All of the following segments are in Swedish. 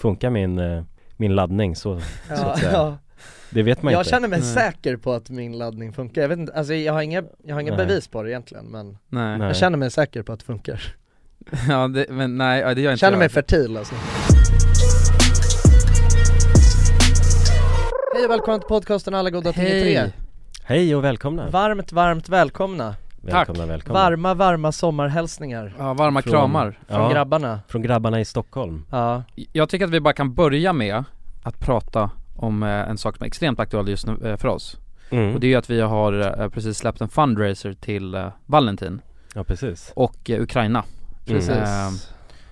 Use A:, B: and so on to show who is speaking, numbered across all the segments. A: Funkar min, eh, min laddning så, så
B: Ja,
A: att säga?
B: ja.
A: Det vet man
B: Jag
A: inte
B: känner mig
C: Nej.
B: säker på att min laddning funkar, jag vet inte, alltså jag har inga, jag har inga
A: Nej.
B: bevis på det egentligen men
C: Nej,
A: Nej.
B: jag känner mig säker på att det funkar
C: ja, det, men nej, ja, det gör
B: Jag
C: inte
B: känner
C: jag.
B: mig fertil alltså Hej och välkomna till podcasten Alla goda ting är tre
C: Hej!
A: Hej och välkomna!
B: Varmt, varmt välkomna!
A: välkomna, välkomna
B: Varma, varma sommarhälsningar
C: Ja, varma
A: Från-
C: kramar.
A: ja,
B: från
A: Mm.
B: grabbarna
A: Från grabbarna i Stockholm
B: Ja,
C: Jag tycker att vi bara kan börja med att prata om eh, en sak som är extremt aktuell just nu eh, för oss.
A: mm.
C: Och det är ju att vi har eh, precis släppt en fundraiser till eh, Valentin
A: Ja precis
C: och eh, Ukraina.
B: precis
A: Mm.
C: Ehm,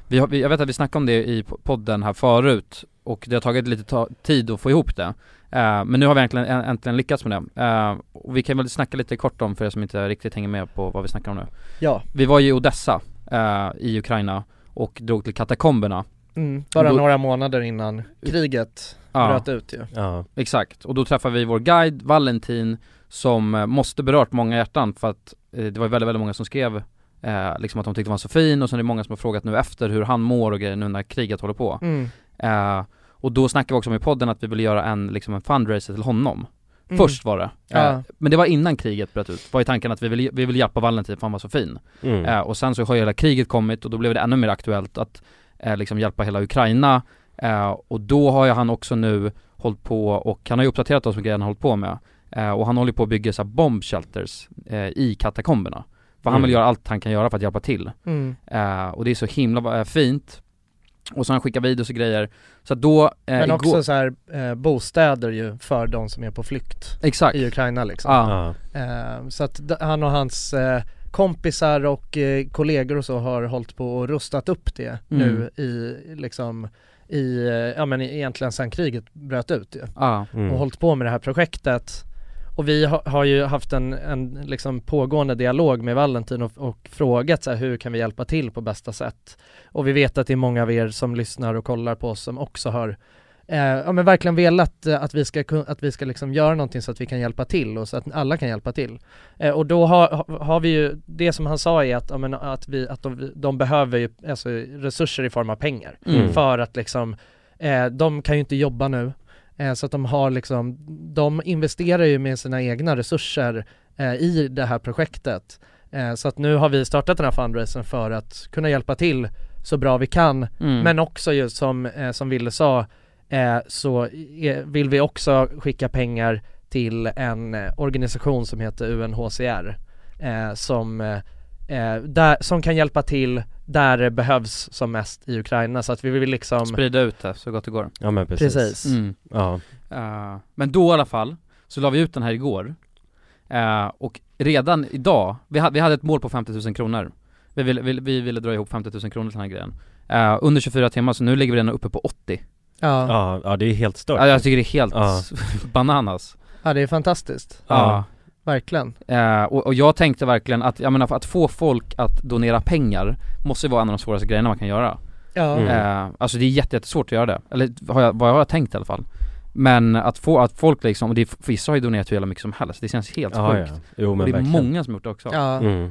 C: Vi har, vi, jag vet att vi snackade om det i po- podden här förut och det har tagit lite ta- tid att få ihop det. Eh, men nu har vi äntligen, ä- äntligen lyckats med det. Eh, och vi kan väl snacka lite kort om för er som inte riktigt hänger med på vad vi snackar om nu.
B: Ja,
C: Vi var ju i Odessa eh, i Ukraina och drog till katakomberna.
B: mm. bara
C: Då-
B: några månader innan kriget
C: Ja.
B: bröt ut ju
A: Ja,
C: Exakt, och då träffade vi vår guide Valentin som eh, måste berört många hjärtan för att eh, det var väldigt, väldigt många som skrev eh, liksom att de tyckte han var så fin och sen är det många som har frågat nu efter hur han mår och grejer nu när kriget håller på.
B: Mm.
C: Eh, och då snackade vi också om i podden att vi ville göra en, liksom en fundraiser till honom.
B: Mm.
C: Först var det. Eh,
B: Ja.
C: Men det var innan kriget bröt ut, var ju tanken att vi ville, vi ville hjälpa Valentin för han var så fin.
A: mm.
C: Eh, och sen så har ju hela kriget kommit och då blev det ännu mer aktuellt att eh, liksom hjälpa hela Ukraina. Eh, och då har ju han också nu hållit på och han har ju uppdaterat oss med grejer han har hållit på med. Eh, och han håller på att bygga så här bomb shelters eh, i katakomberna. För han
A: Mm.
C: vill göra allt han kan göra för att hjälpa till.
B: Mm.
C: Eh, och det är så himla eh, fint. Och så har han skickat videos och grejer. Så att då... Eh,
B: Men
C: igår-
B: också så här, eh, bostäder ju för de som är på flykt
C: Exakt.
B: i Ukraina liksom.
C: Ja.
A: ja.
B: Eh, så att d- han och hans eh, kompisar och eh, kollegor och så har hållit på och rustat upp det
C: Mm.
B: nu i liksom i, eh, ja men egentligen sedan kriget bröt ut ju.
C: Ja.
A: Mm.
B: och hållit på med det här projektet. Och vi ha, har ju haft en, en liksom pågående dialog med Valentin och, och frågat så här, hur kan vi hjälpa till på bästa sätt? Och vi vet att det är många av er som lyssnar och kollar på oss som också har eh, ja, men verkligen velat eh, att vi ska, kun- att vi ska liksom göra någonting så att vi kan hjälpa till och så att alla kan hjälpa till. Eh, och då har, ha- har vi ju, det som han sa är att, ja, men, att, vi, att de, de behöver ju alltså, resurser i form av pengar
A: Mm.
B: för att liksom, eh, de kan ju inte jobba nu. Eh, så att de har liksom, de investerar ju med sina egna resurser eh, i det här projektet. Eh, så att nu har vi startat den här fundraisern för att kunna hjälpa till så bra vi kan.
C: Mm.
B: Men också just som, eh, som Ville sa, eh, så eh, vill vi också skicka pengar till en eh, organisation som heter UNHCR. Eh, som, eh, eh, där, som kan hjälpa till där det behövs som mest i Ukraina. Så att vi vill liksom
C: Sprida ut det så gott det går.
A: ja men precis,
C: Mm.
A: Ja,
C: Eh, men då i alla fall, så la vi ut den här igår. Eh, och redan idag, vi, ha, vi hade ett mål på 50 000 kronor. Vi ville, vi, vi ville dra ihop 50 000 kronor till den här grejen. Eh, under 24 timmar, så nu ligger vi redan uppe på 80.
B: Ja, ja.
A: ja, ja det är helt stört
C: Ja, jag tycker det är helt
A: Ja.
C: bananas.
B: det är fantastiskt.
A: Ja.
B: Verkligen.
C: Eh, och, och jag tänkte verkligen att, jag menar för att få folk att donera pengar måste ju vara en av de svåraste grejerna man kan göra.
B: Ja.
A: Mm.
C: Eh, alltså det är jätte- jättesvårt att göra det, eller har jag, vad jag har tänkt i alla fall. Men att få, att folk liksom, och det, är- vissa har ju donerat hur jävla mycket som helst, det känns helt
A: ja,
C: sjukt.
A: ja. Jo
C: Och
A: men
C: det är
A: verkligen
C: många som gjort det också. Eh,
B: Ja.
A: mm.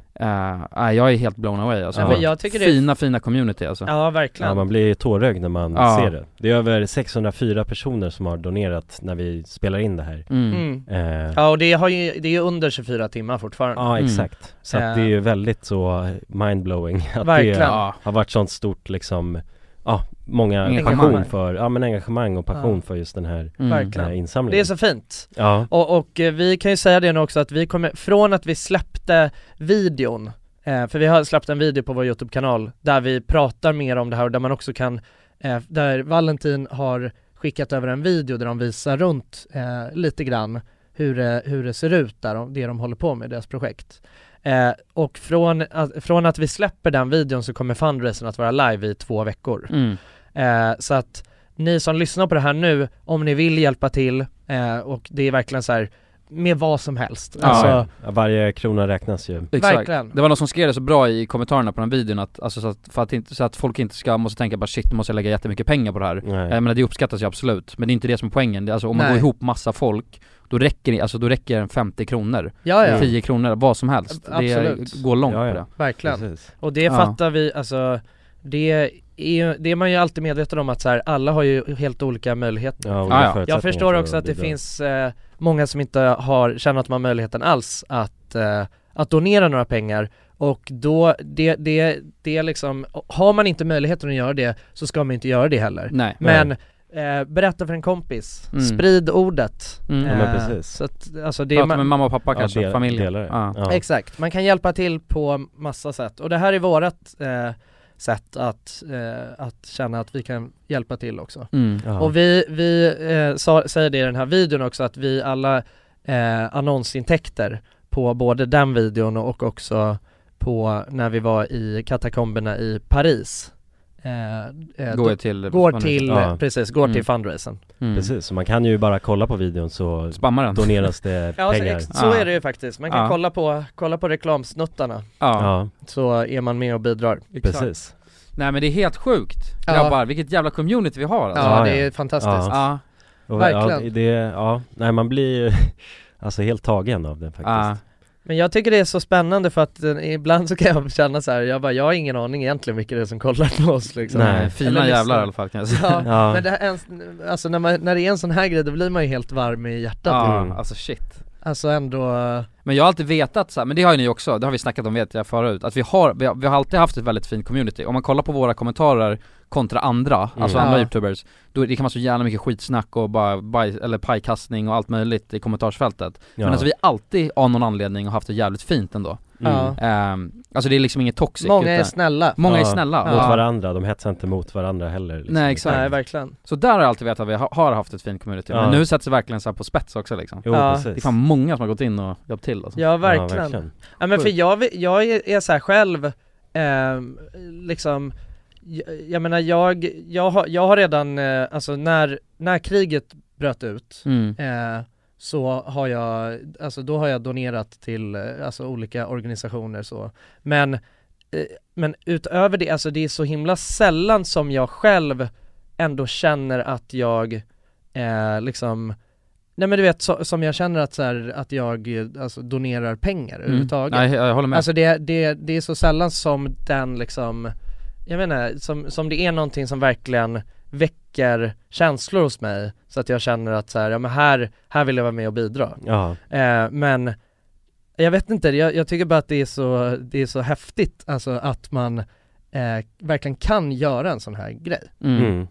C: nej, jag är helt blown away alltså.
A: Ja,
B: men jag tycker det är-
C: Fina, fina community alltså.
B: ja,
A: Ja
B: verkligen.
A: man blir tårögd när man
C: Ja.
A: ser det Det är över 604 personer som har donerat när vi spelar in det här
C: Mm.
B: Mm.
A: eh,
B: Ja, och det, har ju, det är ju under 24 timmar fortfarande.
A: Ja
C: Mm.
A: exakt, så
B: Eh.
A: att det är ju väldigt så mindblowing att
B: Verkligen.
A: det
C: Ja.
A: har varit sånt stort liksom, ja, många
C: Engagemang.
A: passion för, ja men engagemang och passion
B: Ja.
A: för just den här,
C: Mm.
A: den
B: Verkligen.
A: här insamlingen
B: Det är så fint.
A: Ja,
B: Och, och eh, vi kan ju säga det nu också att vi kommer, från att vi släppte videon, eh, för vi har släppt en video på vår YouTube-kanal där vi pratar mer om det här och där man också kan, eh, där Valentin har skickat över en video där de visar runt eh, lite grann hur det, hur det ser ut där, och det de håller på med, deras projekt. Eh, och från att, från att vi släpper den videon så kommer fundraisern att vara live i två veckor.
C: Mm.
B: Eh, så att ni som lyssnar på det här nu, om ni vill hjälpa till eh, och det är verkligen så här med vad som helst.
C: Ja,
B: alltså,
A: ja, ja. varje krona räknas ju
C: Exakt.
B: Verkligen.
C: Det var någon som skrev det så bra i kommentarerna på den här videon att, alltså så att, för att, inte, så att folk inte ska, måste tänka bara shit, nu måste jag lägga jättemycket pengar på det här.
A: Nej.
C: Jag menar det uppskattas ju absolut, men det är inte det som är poängen. Det, är alltså om man
B: Nej.
C: går ihop massa folk, då räcker det, alltså då räcker en 50 kronor,
B: ja, ja,
C: 10 kronor, vad som helst.
B: Absolut.
C: Det går långt
A: Ja, ja.
C: på det.
B: verkligen.
A: Precis.
B: Och det
C: Ja.
B: fattar vi, alltså det är, ju- det är man ju alltid medveten om att så här, alla har ju helt olika möjligheter
A: Ja, olika
C: Ah, ja. Jag
B: Jag
A: förutsättningar
B: förstår
A: för
B: också att det
A: bidra.
B: finns eh, många som inte har, känner att man har möjligheten alls att, eh, att donera några pengar och då, det, det, det är liksom, har man inte möjligheten att göra det så ska man inte göra det heller
C: Nej.
B: Men eh, berätta för en kompis,
C: Mm.
B: sprid ordet
C: Mm.
A: Ja, men
B: Eh,
A: precis.
B: Så att, alltså det är
C: Prata
B: man,
C: med mamma och pappa
A: Ja,
C: kanske,
A: del-
C: familjen.
A: delar det.
C: Ja.
A: Ja.
B: Exakt, man kan hjälpa till på massa sätt och det här är vårat eh, sätt att, eh, att känna att vi kan hjälpa till också
C: Mm.
A: Ja.
B: Och vi, vi eh, sa, säger det i den här videon också att vi alla eh, annonsintäkter på både den videon och också på när vi var i katakomberna i Paris eh, eh,
C: Går
B: då-
C: till...
B: går till,
A: Ja.
B: precis, går
C: Mm.
B: till fundraisen
C: Mm.
A: Precis, så man kan ju bara kolla på videon så
C: Spamma den.
A: doneras det
B: Ja, så,
A: pengar.
B: ex- så
C: Ah.
B: är det ju faktiskt, man kan
C: Ah.
B: kolla, på, kolla på reklamsnuttarna
C: Ja,
A: Ja,
B: så är man med och bidrar
C: exakt.
A: precis.
C: Nej men det är helt sjukt
B: Ja.
C: grabbar, vilket jävla community vi har alltså.
B: Ja,
A: Ja,
B: det
A: ja.
B: är fantastiskt.
A: Ja.
C: Ja,
A: Och, Ja,
B: Verkligen.
A: det, ja, nej man blir ju alltså helt tagen av den
C: ja.
A: faktiskt.
B: Men jag tycker det är så spännande för att eh, ibland så kan jag känna så här, jag bara, jag har ingen aning egentligen vilka det är som kollar på oss liksom.
A: Nej.
C: Nej, fina
B: Eller
C: jävlar i
B: lyssna.
C: alla fall kan jag säga.
B: Ja,
A: Ja.
B: men det här, ens, alltså när, man, när det är en sån här grej då blir man ju helt varm i hjärtat.
C: Ja,
A: Mm.
C: alltså shit.
B: Alltså ändå, eh,
C: Men jag har alltid vetat så här, men det har ju ni också, det har vi snackat om vet jag förut, att vi har, vi har, vi har alltid haft ett väldigt fint community. Om man kollar på våra kommentarer kontra andra,
A: Mm.
C: alltså
B: Ja.
C: andra youtubers, då det kan vara så jävla mycket skitsnack och bara baj, eller pajkastning och allt möjligt i kommentarsfältet.
A: Ja.
C: Men alltså vi har alltid av någon anledning haft det jävligt fint ändå.
A: mm.
B: ja,
C: Ehm, alltså det är liksom inget toxic.
B: många är
C: utan-
B: snälla.
C: många är
A: Ja,
C: snälla.
A: Mot
C: Ja.
A: varandra, de hetsar inte mot varandra heller. liksom.
C: Nej, exakt.
B: Nej verkligen.
C: Så där har jag alltid vetat att vi ha- har haft ett fint community,
A: Ja.
C: men nu sätts det verkligen så här på spets också liksom
A: Jo,
B: Ja,
A: precis.
C: Det är fan många som har gått in och hjälpt till alltså.
B: Ja verkligen.
A: Ja,
B: Ja, men för jag, vi- jag är, är så här själv, eh, liksom, jag, jag menar jag, jag har, jag har redan, eh, alltså när, när kriget bröt ut
C: Mm.
B: eh, så har jag, alltså då har jag donerat till eh, alltså, olika organisationer så. Men, eh, men utöver det, alltså det är så himla sällan som jag själv ändå känner att jag eh, liksom Nej men du vet så, som jag känner att så här, att jag eh, alltså, donerar pengar överhuvudtaget.
C: Mm. Nej, jag jag håller med.
B: Alltså det, det, det är så sällan som den liksom, jag menar, som, som det är någonting som verkligen väcker känslor hos mig så att jag känner att så här, ja men här, här vill jag vara med och bidra.
A: Ja,
B: Eh, men jag vet inte, jag, jag tycker bara att det är så, det är så häftigt alltså att man eh, verkligen kan göra en sån här grej.
C: mm.
A: mm.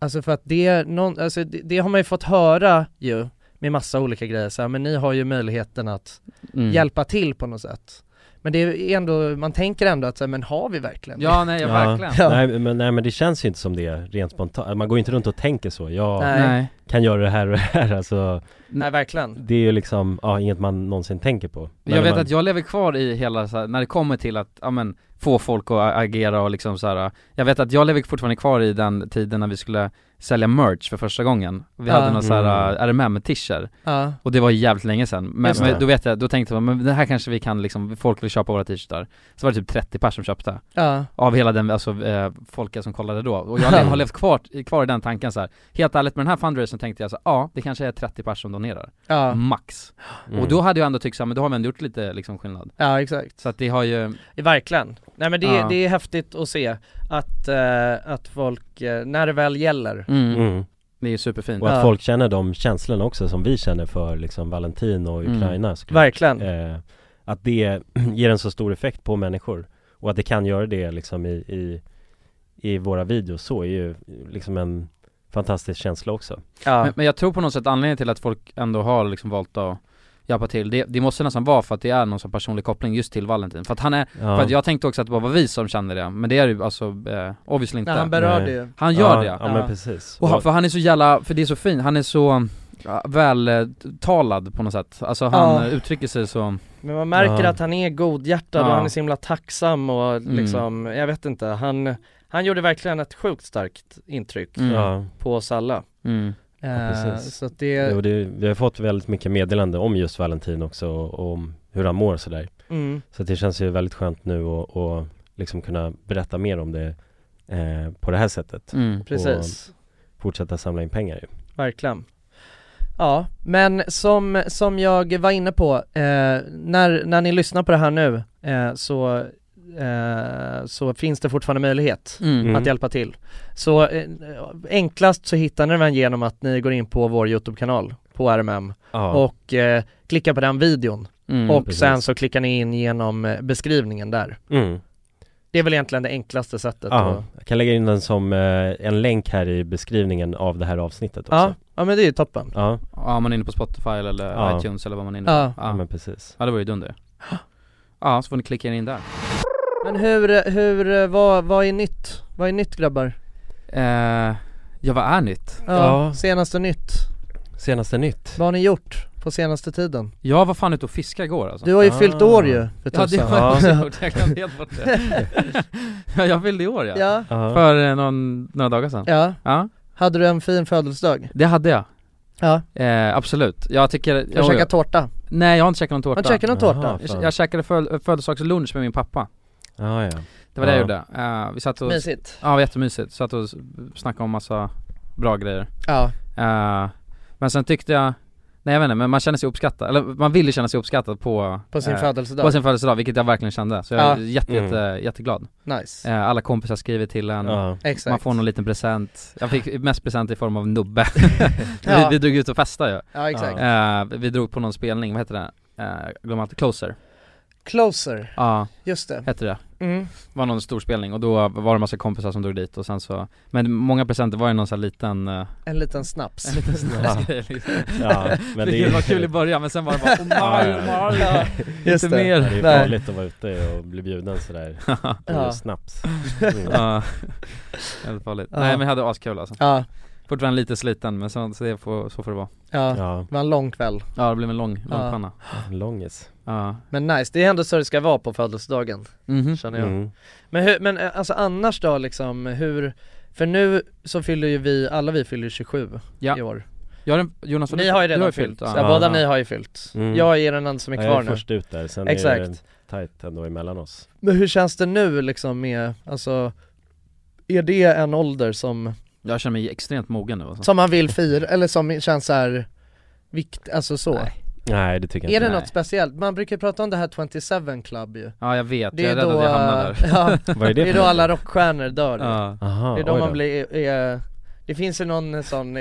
B: Alltså för att det, är någon, alltså det, det har man ju fått höra ju med massa olika grejer så här, men ni har ju möjligheten att
C: Mm.
B: hjälpa till på något sätt. Men det är ändå, man tänker ändå att så här, men har vi verkligen det?
C: Ja, nej, jag verkligen.
B: Ja.
A: Nej, men, nej men det känns ju inte som det rent spontant, man går ju inte runt och tänker så, jag
B: Nej.
C: Nej.
A: kan göra det här och det här alltså
B: Nej verkligen.
A: Det är ju liksom, ja inget man någonsin tänker på
C: Jag vet
A: man,
C: att jag lever kvar i hela så här, när det kommer till att, ja men, få folk att agera och liksom så här. Jag vet att jag lever fortfarande kvar i den tiden när vi skulle sälja merch för första gången. Vi
B: Ja.
C: hade några så här äh,
A: Mm.
C: RMM-t-shirts
B: Ja.
C: och det var jävligt länge sedan. Men,
B: Just
A: det.
C: men då vet jag, då tänkte jag, men det här kanske vi kan liksom, folk vill köpa våra t-shirtar. Så var det typ 30 personer som köpte.
B: Ja.
C: Av hela den, alltså eh, folket som kollade då. Och jag har levt kvar, kvar i den tanken så här. Helt ärligt med den här fundraisern tänkte jag så här, ja det kanske är 30 personer som donerar.
B: Ja.
C: Max.
A: mm.
C: Och då hade jag ändå tyckt så här, men då har vi ändå gjort lite liksom skillnad.
B: ja, exakt.
C: Så att det har ju,
B: Verkligen. Nej men det,
C: Ja.
B: det är häftigt att se att, eh, att folk, eh, när det väl gäller,
A: mm.
C: det är ju superfint.
A: Och att
B: Ja.
A: folk känner de känslorna också som vi känner för liksom Valentin och
C: Mm.
A: Ukraina såklart.
B: verkligen.
A: eh, Att det ger en så stor effekt på människor Och att det kan göra det liksom i, i, i våra videos så är ju liksom en fantastisk känsla också
B: Ja.
C: Men, men jag tror på något sätt anledningen till att folk ändå har liksom valt att hjälpa till, det, det måste nästan vara för att det är någon sån personlig koppling just till Valentin. För att han är,
A: Ja,
C: för att jag tänkte också att det bara var vi som kände det, men det är ju alltså, eh, obviously inte.
B: När han
C: han,
B: berör
A: Nej.
B: det ju.
C: gör
A: ja,
C: det.
A: Ja men
B: Ja.
A: precis
C: Och han, för han är så jävla, för det är så fint, han är så ja, vältalad på något sätt. Alltså han
B: Ja.
C: eh, uttrycker sig så,
B: Men man märker
A: Ja.
B: att han är godhjärtad
C: Ja.
B: och
C: Mm.
B: han är så himla tacksam och liksom, jag vet inte, han, han gjorde verkligen ett sjukt starkt intryck
C: mm,
A: Ja,
B: på oss alla.
C: mm,
B: Eh,
A: precis.
B: så att det,
A: och det, vi har fått väldigt mycket meddelande om just Valentin också och om hur han mår sådär
B: mm,
A: Så det känns ju väldigt skönt nu och, och liksom kunna berätta mer om det eh, på det här sättet.
C: mm.
B: precis.
A: Fortsätta samla in pengar ju.
B: Verkligen. Ja, men som, som jag var inne på, eh, när, när ni lyssnar på det här nu eh, så eh, så finns det fortfarande möjlighet
C: Mm.
A: Mm.
B: att hjälpa till. Så eh, enklast så hittar ni den genom att ni går in på vår YouTube-kanal på RMM
A: Ja.
B: och eh, klickar på den videon
C: Mm.
B: och
A: precis.
B: sen så klickar ni in genom eh, beskrivningen där.
A: mm.
B: Det är väl egentligen det enklaste sättet
A: Ja,
B: att
A: jag kan lägga in den som eh, en länk här i beskrivningen av det här avsnittet också.
B: Ja, ja men det är ju toppen.
A: Ja,
C: Ja, om man är inne på Spotify eller
A: Ja.
C: iTunes eller vad man är inne på.
B: Ja.
A: ja
C: Ja,
A: men precis.
C: ja det var ju dunder. Ja, så får ni klicka in där.
B: Men hur, hur, eh, vad, vad är nytt? Vad är nytt grabbar?
C: Eh, ja, vad är nytt?
B: Ja,
A: Ja.
B: senaste nytt.
A: Senaste nytt.
B: Vad har ni gjort på senaste tiden?
C: Jag var fan ute och fiskade igår alltså.
B: Du har ju
A: Ah.
B: fyllt år ju för
C: ja, det
B: tusan.
C: har
A: Ja.
C: jag också gjort. Jag glömde helt bort det. ja, jag fyllde i år ja.
B: ja,
A: Ja.
C: För eh, någon, några dagar sedan.
B: ja.
C: Ja,
B: Hade du en fin födelsedag?
C: det hade jag.
B: Ja,
C: Eh, absolut. Jag tycker...
B: jag
C: Jo, jo.
B: käkade tårta.
C: Nej, jag har inte käkat någon
B: Har
C: tårta.
B: du käkat någon tårta?
A: Jaha.
C: Jag, jag käkade föl- födelsedagslunch med min pappa.
A: Ja, ja.
C: Det var det jag
A: Ja.
C: gjorde. Eh, vi satt och...
B: Mysigt.
C: Ja, det var jättemysigt. Satt och s- snackade om massa bra grejer.
B: Ja,
C: Eh, men sen tyckte jag, nej jag vet inte, men man känner sig uppskattad, eller man vill ju känna sig uppskattad på,
B: på sin
C: eh,
B: födelsedag.
C: på sin födelsedag, vilket jag verkligen kände. Så jag är
B: Ja.
C: jätte,
A: Mm.
C: jätte, jätteglad.
B: Nice.
C: Eh, alla kompisar skriver till en,
A: Ja.
B: Exakt.
C: man får någon liten present. Jag fick mest present i form av nubbe.
B: Ja.
C: vi, vi drog ut och festade ju.
B: Ja, exakt.
A: Ja.
C: Eh, vi drog på någon spelning, vad heter det? Eh, jag glömmer alltid, Closer.
B: Closer,
C: Ja,
B: just det.
C: hette det.
B: Mm.
C: var någon stor spelning och då var det massa kompisar som drog dit och sen så Men många presenter var ju någon sån här liten eh,
B: En liten snaps.
C: En liten snäsgrej liksom
A: ja. Men det,
C: Vilket
A: är-
C: var kul i början men sen var det bara oh
A: Ja,
C: my,
A: ja.
C: oh my.
B: Ja, just
C: Inte
B: det.
A: Ja,
C: mer
A: det är
B: Nej.
A: farligt att vara ute och bli bjuden sådär på
B: Ja.
A: snaps.
C: Ja, Helt farligt.
B: Ja.
C: Nej men jag hade askul alltså
B: Ja,
C: Fortfarande lite sliten men så, så, det får, så får det vara
B: ja.
A: Ja,
B: Det var en lång kväll.
C: Ja det blev en lång, lång
B: Ja.
C: panna
A: långis.
C: Ja
B: Men nice, det är ändå så det ska vara på födelsedagen,
C: Mhm.
B: känner jag.
A: Mm.
B: Men, hur, men eh, alltså annars då liksom, hur, för nu så fyller ju vi, alla vi fyller ju 27
C: Ja.
B: i år
C: Jag har en, Jonas
B: Ni
C: du-
B: har ju redan
C: du
B: fyllt,
C: ja.
B: ja, båda ni har ju fyllt
A: Mm.
B: Jag är den enda som är
A: Ja,
B: kvar
A: jag är
B: nu
A: först ut där, sen är det
B: Exakt,
A: tajt ändå emellan oss.
B: men hur känns det nu liksom med, alltså är det en ålder som,
C: Jag känner mig extremt mogen nu alltså.
B: som man vill fira, eller som känns så här vikt, alltså så?
C: Nej.
A: Nej, det tycker jag
B: Är
A: inte.
B: det
C: Nej.
B: något speciellt? Man brukar prata om det här 27 club ju
C: Ja jag vet,
B: Det
C: jag är
B: är
C: rädd
B: då,
C: att jag hamnar där
B: eh, ja,
A: Vad är
B: det
A: det
B: är
A: för
B: då
A: något?
B: alla rockstjärnor dör
C: Ja.
A: Aha,
B: Det är då
A: oj
B: man blir, är, det finns ju någon eh, sån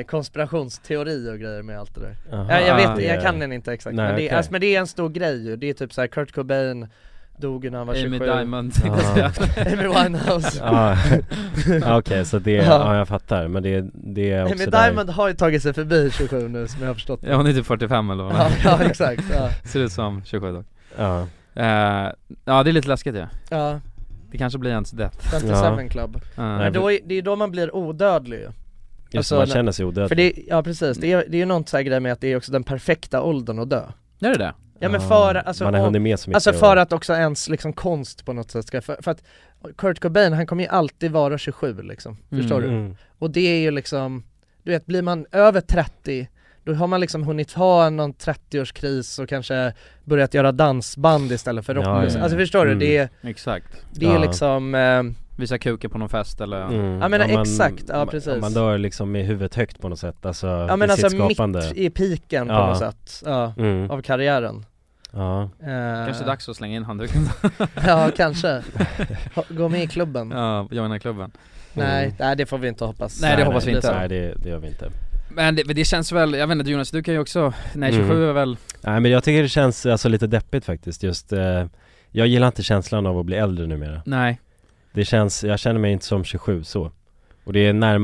B: konspirationsteori och grejer med allt det där
A: Aha,
B: Ja, jag vet,
A: det-
B: jag kan den inte exakt
A: Ah, Nej,
B: men, det,
A: okej.
B: alltså, men det är en stor grej ju, det är typ såhär Kurt Cobain dog ju när han var 27
C: Amy Diamond
A: Ja.
B: Amy Winehouse
A: Ja, Ja, okej så det,
B: Ja.
A: ja jag fattar men det, det är också
B: Amy
A: där-
B: Diamond har ju tagit sig förbi 27 nu som jag har förstått
C: Ja hon är typ 45 eller vad hon
B: ja,
C: är.
B: ja exakt, ja,
C: Ser ut som 27 dock
A: Ja,
C: Eh, ja det är lite läskigt ju. Ja.
B: ja
C: Det kanske blir ens death.
B: 57
A: Ja.
B: Club
C: Eh,
A: Nej,
B: Men då är, det är då man blir odödlig ju
A: just
B: Alltså,
A: det, man
B: när-
A: känner sig odödlig
B: För det, ja precis, det är, det är ju någon sån här grej med att det är också den perfekta åldern att dö
C: Är det det?
B: Ja men
A: Ah,
B: för, alltså,
A: Man har
B: om-
A: hunnit med så mycket
B: Alltså för
A: och-
B: att också ens liksom konst på något sätt ska, för, för att Kurt Cobain han kommer ju alltid vara 27 liksom,
C: Mm.
B: förstår du?
A: mm.
B: Och det är ju liksom, du vet blir man över 30 då har man liksom hunnit ha någon 30-årskris och kanske börjat göra dansband istället för rock
A: Ja,
C: ja, ja.
B: Alltså förstår du?
A: Mm.
B: Det är,
C: Exakt.
B: det är
A: Ja.
B: liksom, eh,
C: Visa kuken på någon fest eller?
A: Mm.
B: Jag menar,
A: man-
B: exakt, ja,
A: man-
B: precis.
A: Man dör liksom med huvudet högt på något sätt, alltså
B: ja men
A: i
B: alltså
A: sitt skapande
B: mitt i piken på
A: Ja.
B: något sätt, ja,
A: mm.
B: av karriären
A: Ja,
B: Eh,
C: Kanske dags att slänga in handduken.
B: Ja kanske, Ha- gå med i klubben
C: ja, joina klubben.
B: Nej,
A: Mm.
B: nej det får vi inte hoppas
C: Nej, det hoppas vi
B: är
C: inte.
B: sant.
A: nej det, det gör vi inte
C: Men det, men det känns väl, jag vet inte Jonas, du kan ju också, nej 27
A: Mm.
C: är väl,
A: Nej men jag tycker det känns alltså lite deppigt faktiskt just eh, Jag gillar inte känslan av att bli äldre numera
C: nej.
A: Det känns, jag känner mig inte som 27 så Och det är närmare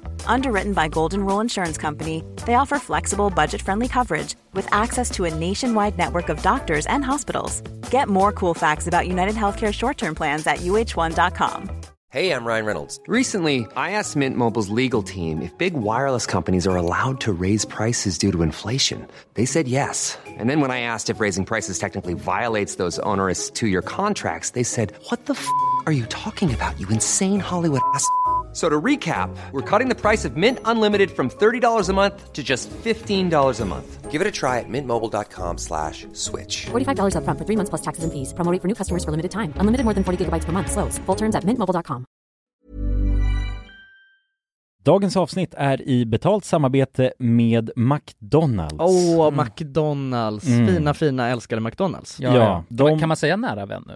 D: Underwritten by Golden Rule Insurance Company, they offer flexible, budget friendly coverage with access to a nationwide network of doctors and hospitals. Get more cool facts about United Healthcare short term plans at uh1.com.
E: Hey, I'm Ryan Reynolds. Recently, I asked Mint Mobile's legal team if big wireless companies are allowed to raise prices due to inflation. They said yes. And then when I asked if raising prices technically violates those onerous two year contracts, they said, What the f are you talking about, you insane Hollywood ass? f- So to recap, we're cutting the price of Mint Unlimited from $30 a month to just $15 a month. Give it a try at mintmobile.com slash switch.
F: $45 upfront for three months plus taxes and fees. Promo rate for new customers for limited time. Unlimited more than 40 gigabytes per month. Slows. Full terms at mintmobile.com.
A: Dagens avsnitt är i betalt samarbete med McDonalds.
G: Åh,
H: Mm.
G: McDonalds,
A: Mm.
G: fina fina älskade McDonalds
A: Ja, de-
H: Kan man säga nära vän nu?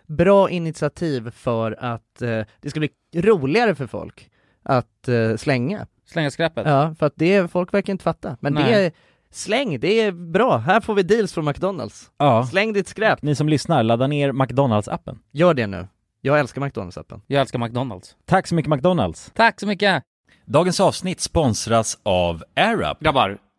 G: bra initiativ för att eh, det ska bli roligare för folk att eh, slänga
H: Slänga skräpet.
G: Ja, för att det, är- folk verkar inte fatta Men det
H: Nej.
G: är, släng, det är bra, här får vi deals från McDonalds
A: Ja.
G: Släng ditt skräp,
A: Ni som lyssnar, ladda ner McDonalds-appen.
G: gör det nu Jag älskar McDonalds-appen
H: Jag älskar McDonalds.
A: Tack så mycket McDonalds!
H: Tack så mycket!
A: Dagens avsnitt sponsras av AirUp.
C: Grabbar,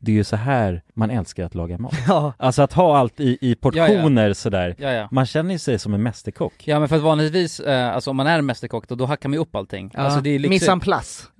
A: det är ju så här man älskar att laga mat.
G: Ja,
A: Alltså att ha allt i, i portioner sådär.
H: Ja, ja.
A: Man känner ju sig som en mästerkock.
H: Ja men för att vanligtvis, eh, alltså om man är mästerkock då, då hackar man ju upp allting. Alltså det är lyxigt.
G: Missan plus.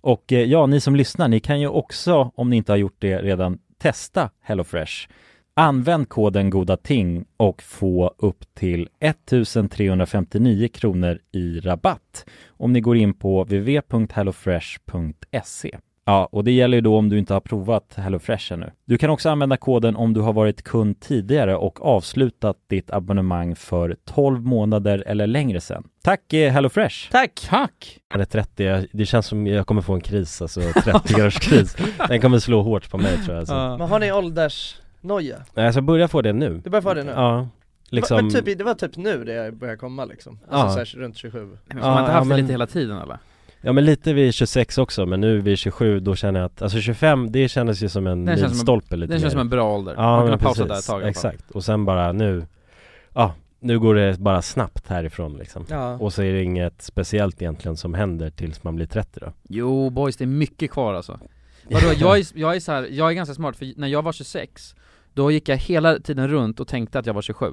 I: Och eh, ja, ni som lyssnar, ni kan ju också, om ni inte har gjort det redan, testa HelloFresh. Använd koden goda ting och få upp till 1359 kronor i rabatt om ni går in på www.hellofresh.se. Ja, och det gäller ju då om du inte har provat HelloFresh ännu. Du kan också använda koden om du har varit kund tidigare och avslutat ditt abonnemang för 12 månader eller längre sedan. Tack eh, HelloFresh!
J: Tack!
C: Tack!
A: Eller 30, jag- det känns som jag kommer få en kris, alltså 30-årskris Den kommer slå hårt på mig tror jag alltså.
B: Men
J: har ni åldersnoja?
A: Nej, alltså jag börjar få det nu
B: Du börjar få det nu?
A: Ja, liksom
B: Men typ, i- det var typ nu det jag började komma liksom,
A: Ja.
B: alltså ja. runt 27
C: Men har man inte
A: Ja,
C: haft det
A: men-
C: lite hela tiden eller?
A: Ja men lite vid 26 också, men nu vid 27 då känner jag att, alltså 25 det kändes ju som en
C: Det känns som en-
A: milstolpe lite
C: Det känns som
A: mer.
C: en bra ålder.
A: Ja
C: man
A: men
C: kunde pausa
A: precis,
C: där ett tag i alla fall.
A: exakt, och sen bara nu, ja nu går det bara snabbt härifrån liksom
B: Ja,
A: Och så är det inget speciellt egentligen som händer tills man blir 30 då
C: Jo boys, det är mycket kvar alltså. Vadå, jag är, jag är så här, jag är ganska smart för när jag var 26 då gick jag hela tiden runt och tänkte att jag var 27.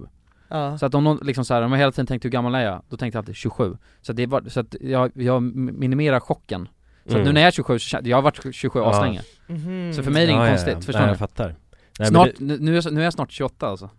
B: ja.
C: Så att om någon liksom så här, om jag hela tiden tänkte hur gammal är jag? Då tänkte jag alltid 27. Så att det var, så att jag, jag minimerar chocken. Så att
A: Mm.
C: nu när jag är 27, så känner- jag har varit 27
A: Ja.
C: aslänge.
B: Mhm.
C: Så för mig är det
A: Ja,
C: inget
A: ja,
C: konstigt,
A: ja.
C: förstår
A: Nej,
C: ni?
A: jag fattar Nej,
C: snart,
A: men
C: nu, nu, är jag, nu är jag snart 28 alltså.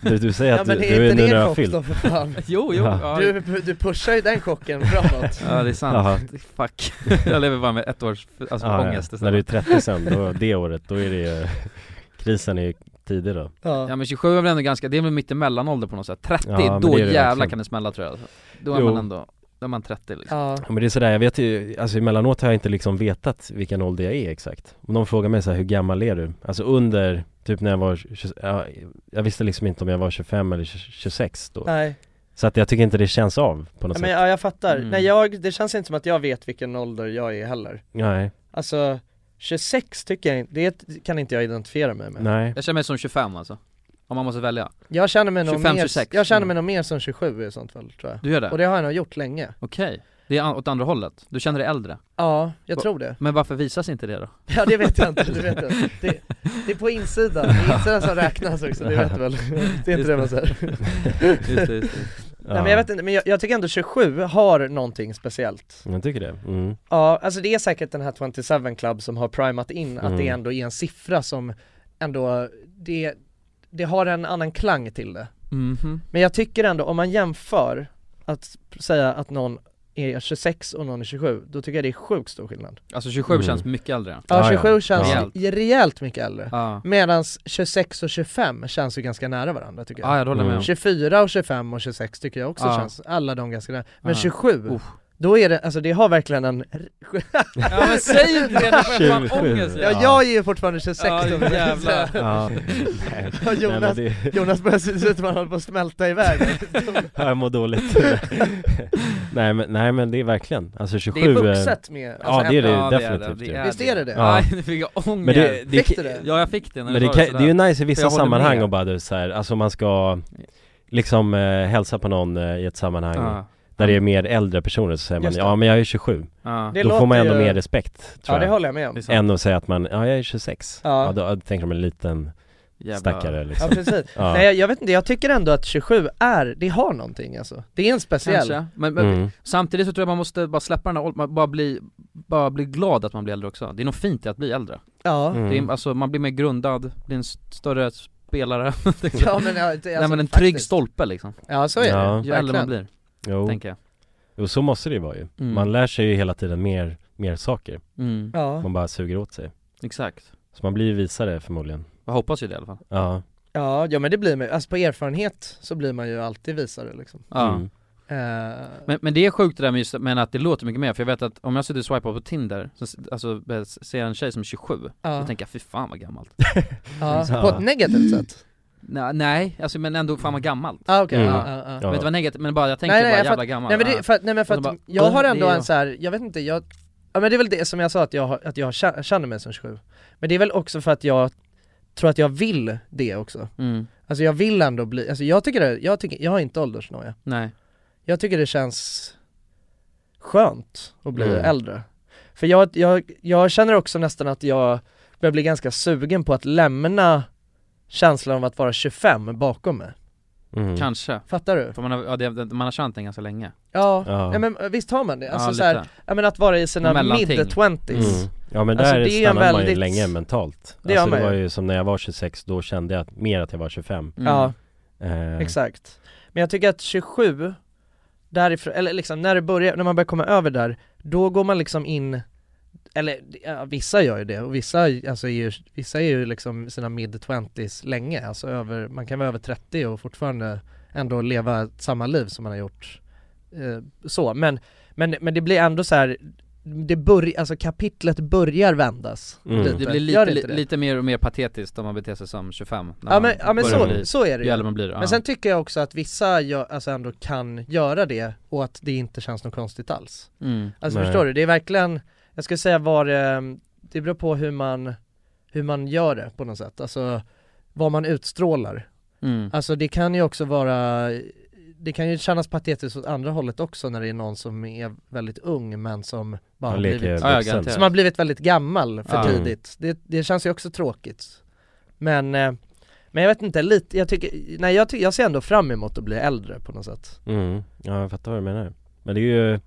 A: du, du, du säger
B: Ja
A: att
B: men
A: du,
B: det är
A: du är
B: inte
A: nu när
B: din
A: jag har
B: chock
A: fyllt
B: då för fan
C: Jo, jo,
A: Ja.
C: ja.
B: du, du pushar ju den chocken framåt
C: ja det är sant.
A: Jaha.
C: Fuck. Jag lever bara med ett års alltså,
A: Ja, ja.
C: ångest
A: När du är
C: istället.
A: 30 sen, då, det året, då är det ju, krisen är ju tidig då
B: Ja,
C: Ja men 27 är väl ändå ganska, det är väl mitt ålder på något sätt. 30,
A: Ja, men
C: då
A: det är det
C: jävlar
A: verkligen.
C: kan det smälla tror jag. alltså. Då är
A: Jo.
C: man ändå, då är man 30 liksom.
B: ja.
A: Ja, Men det är sådär, jag vet ju, alltså emellanåt har jag inte liksom vetat vilken ålder jag är exakt Om någon frågar mig så här, hur gammal är du? Alltså under, typ när jag var, 20, ja, jag visste liksom inte om jag var 25 eller 26 då
B: nej
A: Så att jag tycker inte det känns av på något
B: ja,
A: sätt
B: men ja, jag fattar,
C: Mm.
B: nej jag, det känns inte som att jag vet vilken ålder jag är heller
A: Nej,
B: Alltså 26 tycker jag inte, det kan inte jag identifiera mig med
A: nej
C: Jag känner mig som 25 alltså. Om man måste välja.
B: Jag känner mig nog
C: 25,
B: mer,
C: 26.
B: jag känner mig nog mer som 27 i sånt fall tror jag
C: Du gör det?
B: Och det har jag nog gjort länge
C: Okej. Det är an- åt andra hållet. Du känner dig äldre.
B: Ja, jag
C: Va-
B: tror det
C: Men varför visas inte det då?
B: Ja det vet jag inte, det vet jag inte. det, det är på insidan, det är insidan som räknas också, det vet du väl? Det är inte det man säger
C: Just det, just det.
B: Nej men jag vet inte, men jag, jag tycker ändå 27 har någonting speciellt
A: Jag tycker det, mm.
B: Ja, alltså det är säkert den här 27 Club som har primat in att
A: Mm.
B: det ändå är en siffra som ändå, det, det har en annan klang till det
C: Mhm.
B: Men jag tycker ändå, om man jämför att säga att någon är 26 och någon är 27, då tycker jag det är sjukt stor skillnad
C: Alltså 27
A: Mm.
C: känns mycket äldre.
B: Ja,
A: Ja, ja.
B: 27 känns
C: Ja.
B: ju rejält mycket äldre
C: Ja,
B: Medan 26 och 25 känns ju ganska nära varandra tycker jag
C: ja jag håller med
A: Mm.
C: om.
B: 24 och 25 och 26 tycker jag också
C: Ja.
B: känns, alla de ganska nära Men
C: Ja.
B: 27,
C: Uff.
B: då är det, alltså det har verkligen en
C: Ja men säg inte det, då får jag fan
A: 27.
C: ångest
B: Ja,
C: igen.
B: jag är ju fortfarande 26
C: Ja,
B: om jag säger
C: jävlar.
B: så.
A: Ja,
B: Ja,
A: Nej, men
B: Jonas,
A: det,
B: Jonas börjar se ut som att han håller på att smälta iväg
A: jag mår dåligt nej, men, nej men det är verkligen, alltså 27
B: Det är
A: eh,
B: vuxet med, alltså,
A: Ja det är det
C: Ja,
A: definitivt ju.
B: Visst är det det?
A: Ja.
C: Nej, nu fick jag ångest.
A: Men det, det,
B: Fick du det?
C: Ja jag fick det när
A: Men
C: du
A: det,
C: sa
A: kan, det
C: sådär.
A: är ju nice i
C: För
A: vissa
C: jag håller
A: sammanhang
C: med.
A: och bara du så här, alltså om man ska liksom eh, hälsa på någon eh, i ett sammanhang
C: Ja,
A: där det är mer äldre personer så säger man
B: Just det.
A: ja men jag är liksom 27.
C: ja.
B: Det
A: Då
B: låter
A: får man ändå
B: ju-
A: mer respekt
B: Ja
A: tror
B: det
A: jag.
B: håller jag med om
C: Det är sant.
A: Än att säga att man, ja jag är 26.
B: Ja.
A: Ja, då, då tänker de en liten
C: Jävla-
A: stackare
B: Ja
A: liksom.
B: precis,
A: Ja.
B: nej jag, jag vet inte, jag tycker ändå att 27 är, det har någonting alltså Det är en speciell
C: Kanske, men, men
A: Mm.
C: samtidigt så tror jag man måste bara släppa den här åldern, man bara bli, bara bli glad att man blir äldre också. Det är nog fint i att bli äldre.
B: Ja,
A: Mm.
C: Det är, alltså man blir mer grundad, blir en st- större spelare.
B: ja men ja, det- alltså,
C: Nej men en trygg
B: faktiskt.
C: stolpe liksom,
B: Ja så är
A: Ja. Oh.
B: det,
C: ju äldre man
B: verkligen
C: blir,
A: Jo.
C: tänker jag.
A: jo, så måste det ju vara ju.
C: Mm.
A: Man lär sig ju hela tiden mer, mer saker.
C: Mm.
B: Ja,
A: Man bara suger åt sig.
C: Exakt.
A: Så man blir ju visare förmodligen.
C: Jag hoppas ju det i alla fall.
A: Ja.
B: ja, ja men det blir man ju, alltså på erfarenhet så blir man ju alltid visare liksom
C: Ja.
A: Mm.
B: eh,
C: Men, men det är sjukt det där med just, men att det låter mycket mer, för jag vet att om jag sitter och swipar på Tinder, så, s- alltså eh, s- ser jag en tjej som är 27,
B: ja,
C: då tänker jag fy fan vad gammalt.
B: ja. På ett negativt sätt?
C: Nej, nej, alltså men ändå fan vad gammalt.
B: Ah, okej,
A: Mm.
B: ja, ja, ja.
C: Jag vet inte vad negativt, men bara jag tänker
B: Nej, nej,
C: bara
B: jag
C: jävla
B: fatt-
C: gammal.
B: Nej men, det, för, att- nej, men för
C: Och
B: att
C: så bara,
B: jag har
C: "Åh,
B: ändå
C: det är
B: en så här, jag vet inte, jag Ja men det är väl det som jag sa att jag, har- att jag kä- känner mig som 27 Men det är väl också för att jag tror att jag vill det också
C: Mm.
B: Alltså jag vill ändå bli, alltså jag tycker, det, jag, tycker jag har inte åldersnoja
C: Nej.
B: Jag tycker det känns skönt att bli
C: Mm.
B: äldre För jag, jag, jag känner också nästan att jag börjar bli ganska sugen på att lämna känslan av att vara 25 bakom mig
A: Mm.
C: Kanske.
B: Fattar du?
C: För man har, ja, det, det- man har känt den ganska länge.
B: Ja,
A: Ja.
B: Nej, men visst har man det? Alltså
C: Ja,
B: så här,
C: lite.
B: ja, men att vara i sina
C: Mellanting.
B: mid-twenties
A: Mm. Ja men där
B: Alltså, det är en
A: stannade man ju
B: väldigt-
A: länge mentalt
B: Det gör
A: Alltså
B: man
A: det
B: ju.
A: var ju som när jag var 26, då kände jag att- mer att jag var 25
C: Mm.
B: Ja,
A: eh,
B: exakt Men jag tycker att 27, därifrån, eller liksom när det börjar, när man börjar komma över där, då går man liksom in eller ja, vissa gör ju det och vissa, alltså, är ju, vissa är ju liksom sina mid-twenties länge, alltså över, man kan vara över 30 och fortfarande ändå leva samma liv som man har gjort eh, så, men, men, men det blir ändå så här, det börjar, alltså kapitlet börjar vändas Typ.
A: Mm.
C: Det blir
B: Gör det
C: lite,
B: inte
C: li,
B: det?
C: lite mer och mer patetiskt om man beter sig som 25. när
B: Ja
C: man
B: men, ja, men
C: börjar
B: så,
C: bli-
B: så är det
C: ju äldre man blir. ja.
B: Men sen tycker jag också att vissa gör, alltså ändå kan göra det och att det inte känns något konstigt alls.
C: mm.
B: Alltså
A: Nej.
B: förstår du, det är verkligen, jag skulle säga var det, det beror på hur man, hur man gör det på något sätt, alltså vad man utstrålar.
C: Mm.
B: Alltså det kan ju också vara, det kan ju kännas patetiskt åt andra hållet också när det är någon som är väldigt ung men som bara har
A: Man leker
B: blivit,
C: Ja, ja,
A: vuxen
C: garanterat.
B: som har blivit väldigt gammal för
C: Ja. Mm.
B: tidigt. Det, det känns ju också tråkigt. Men, eh, men jag vet inte, lite, jag tycker, nej jag, tycker, jag ser ändå fram emot att bli äldre på något sätt.
A: mm. Ja jag fattar vad du menar Men det är ju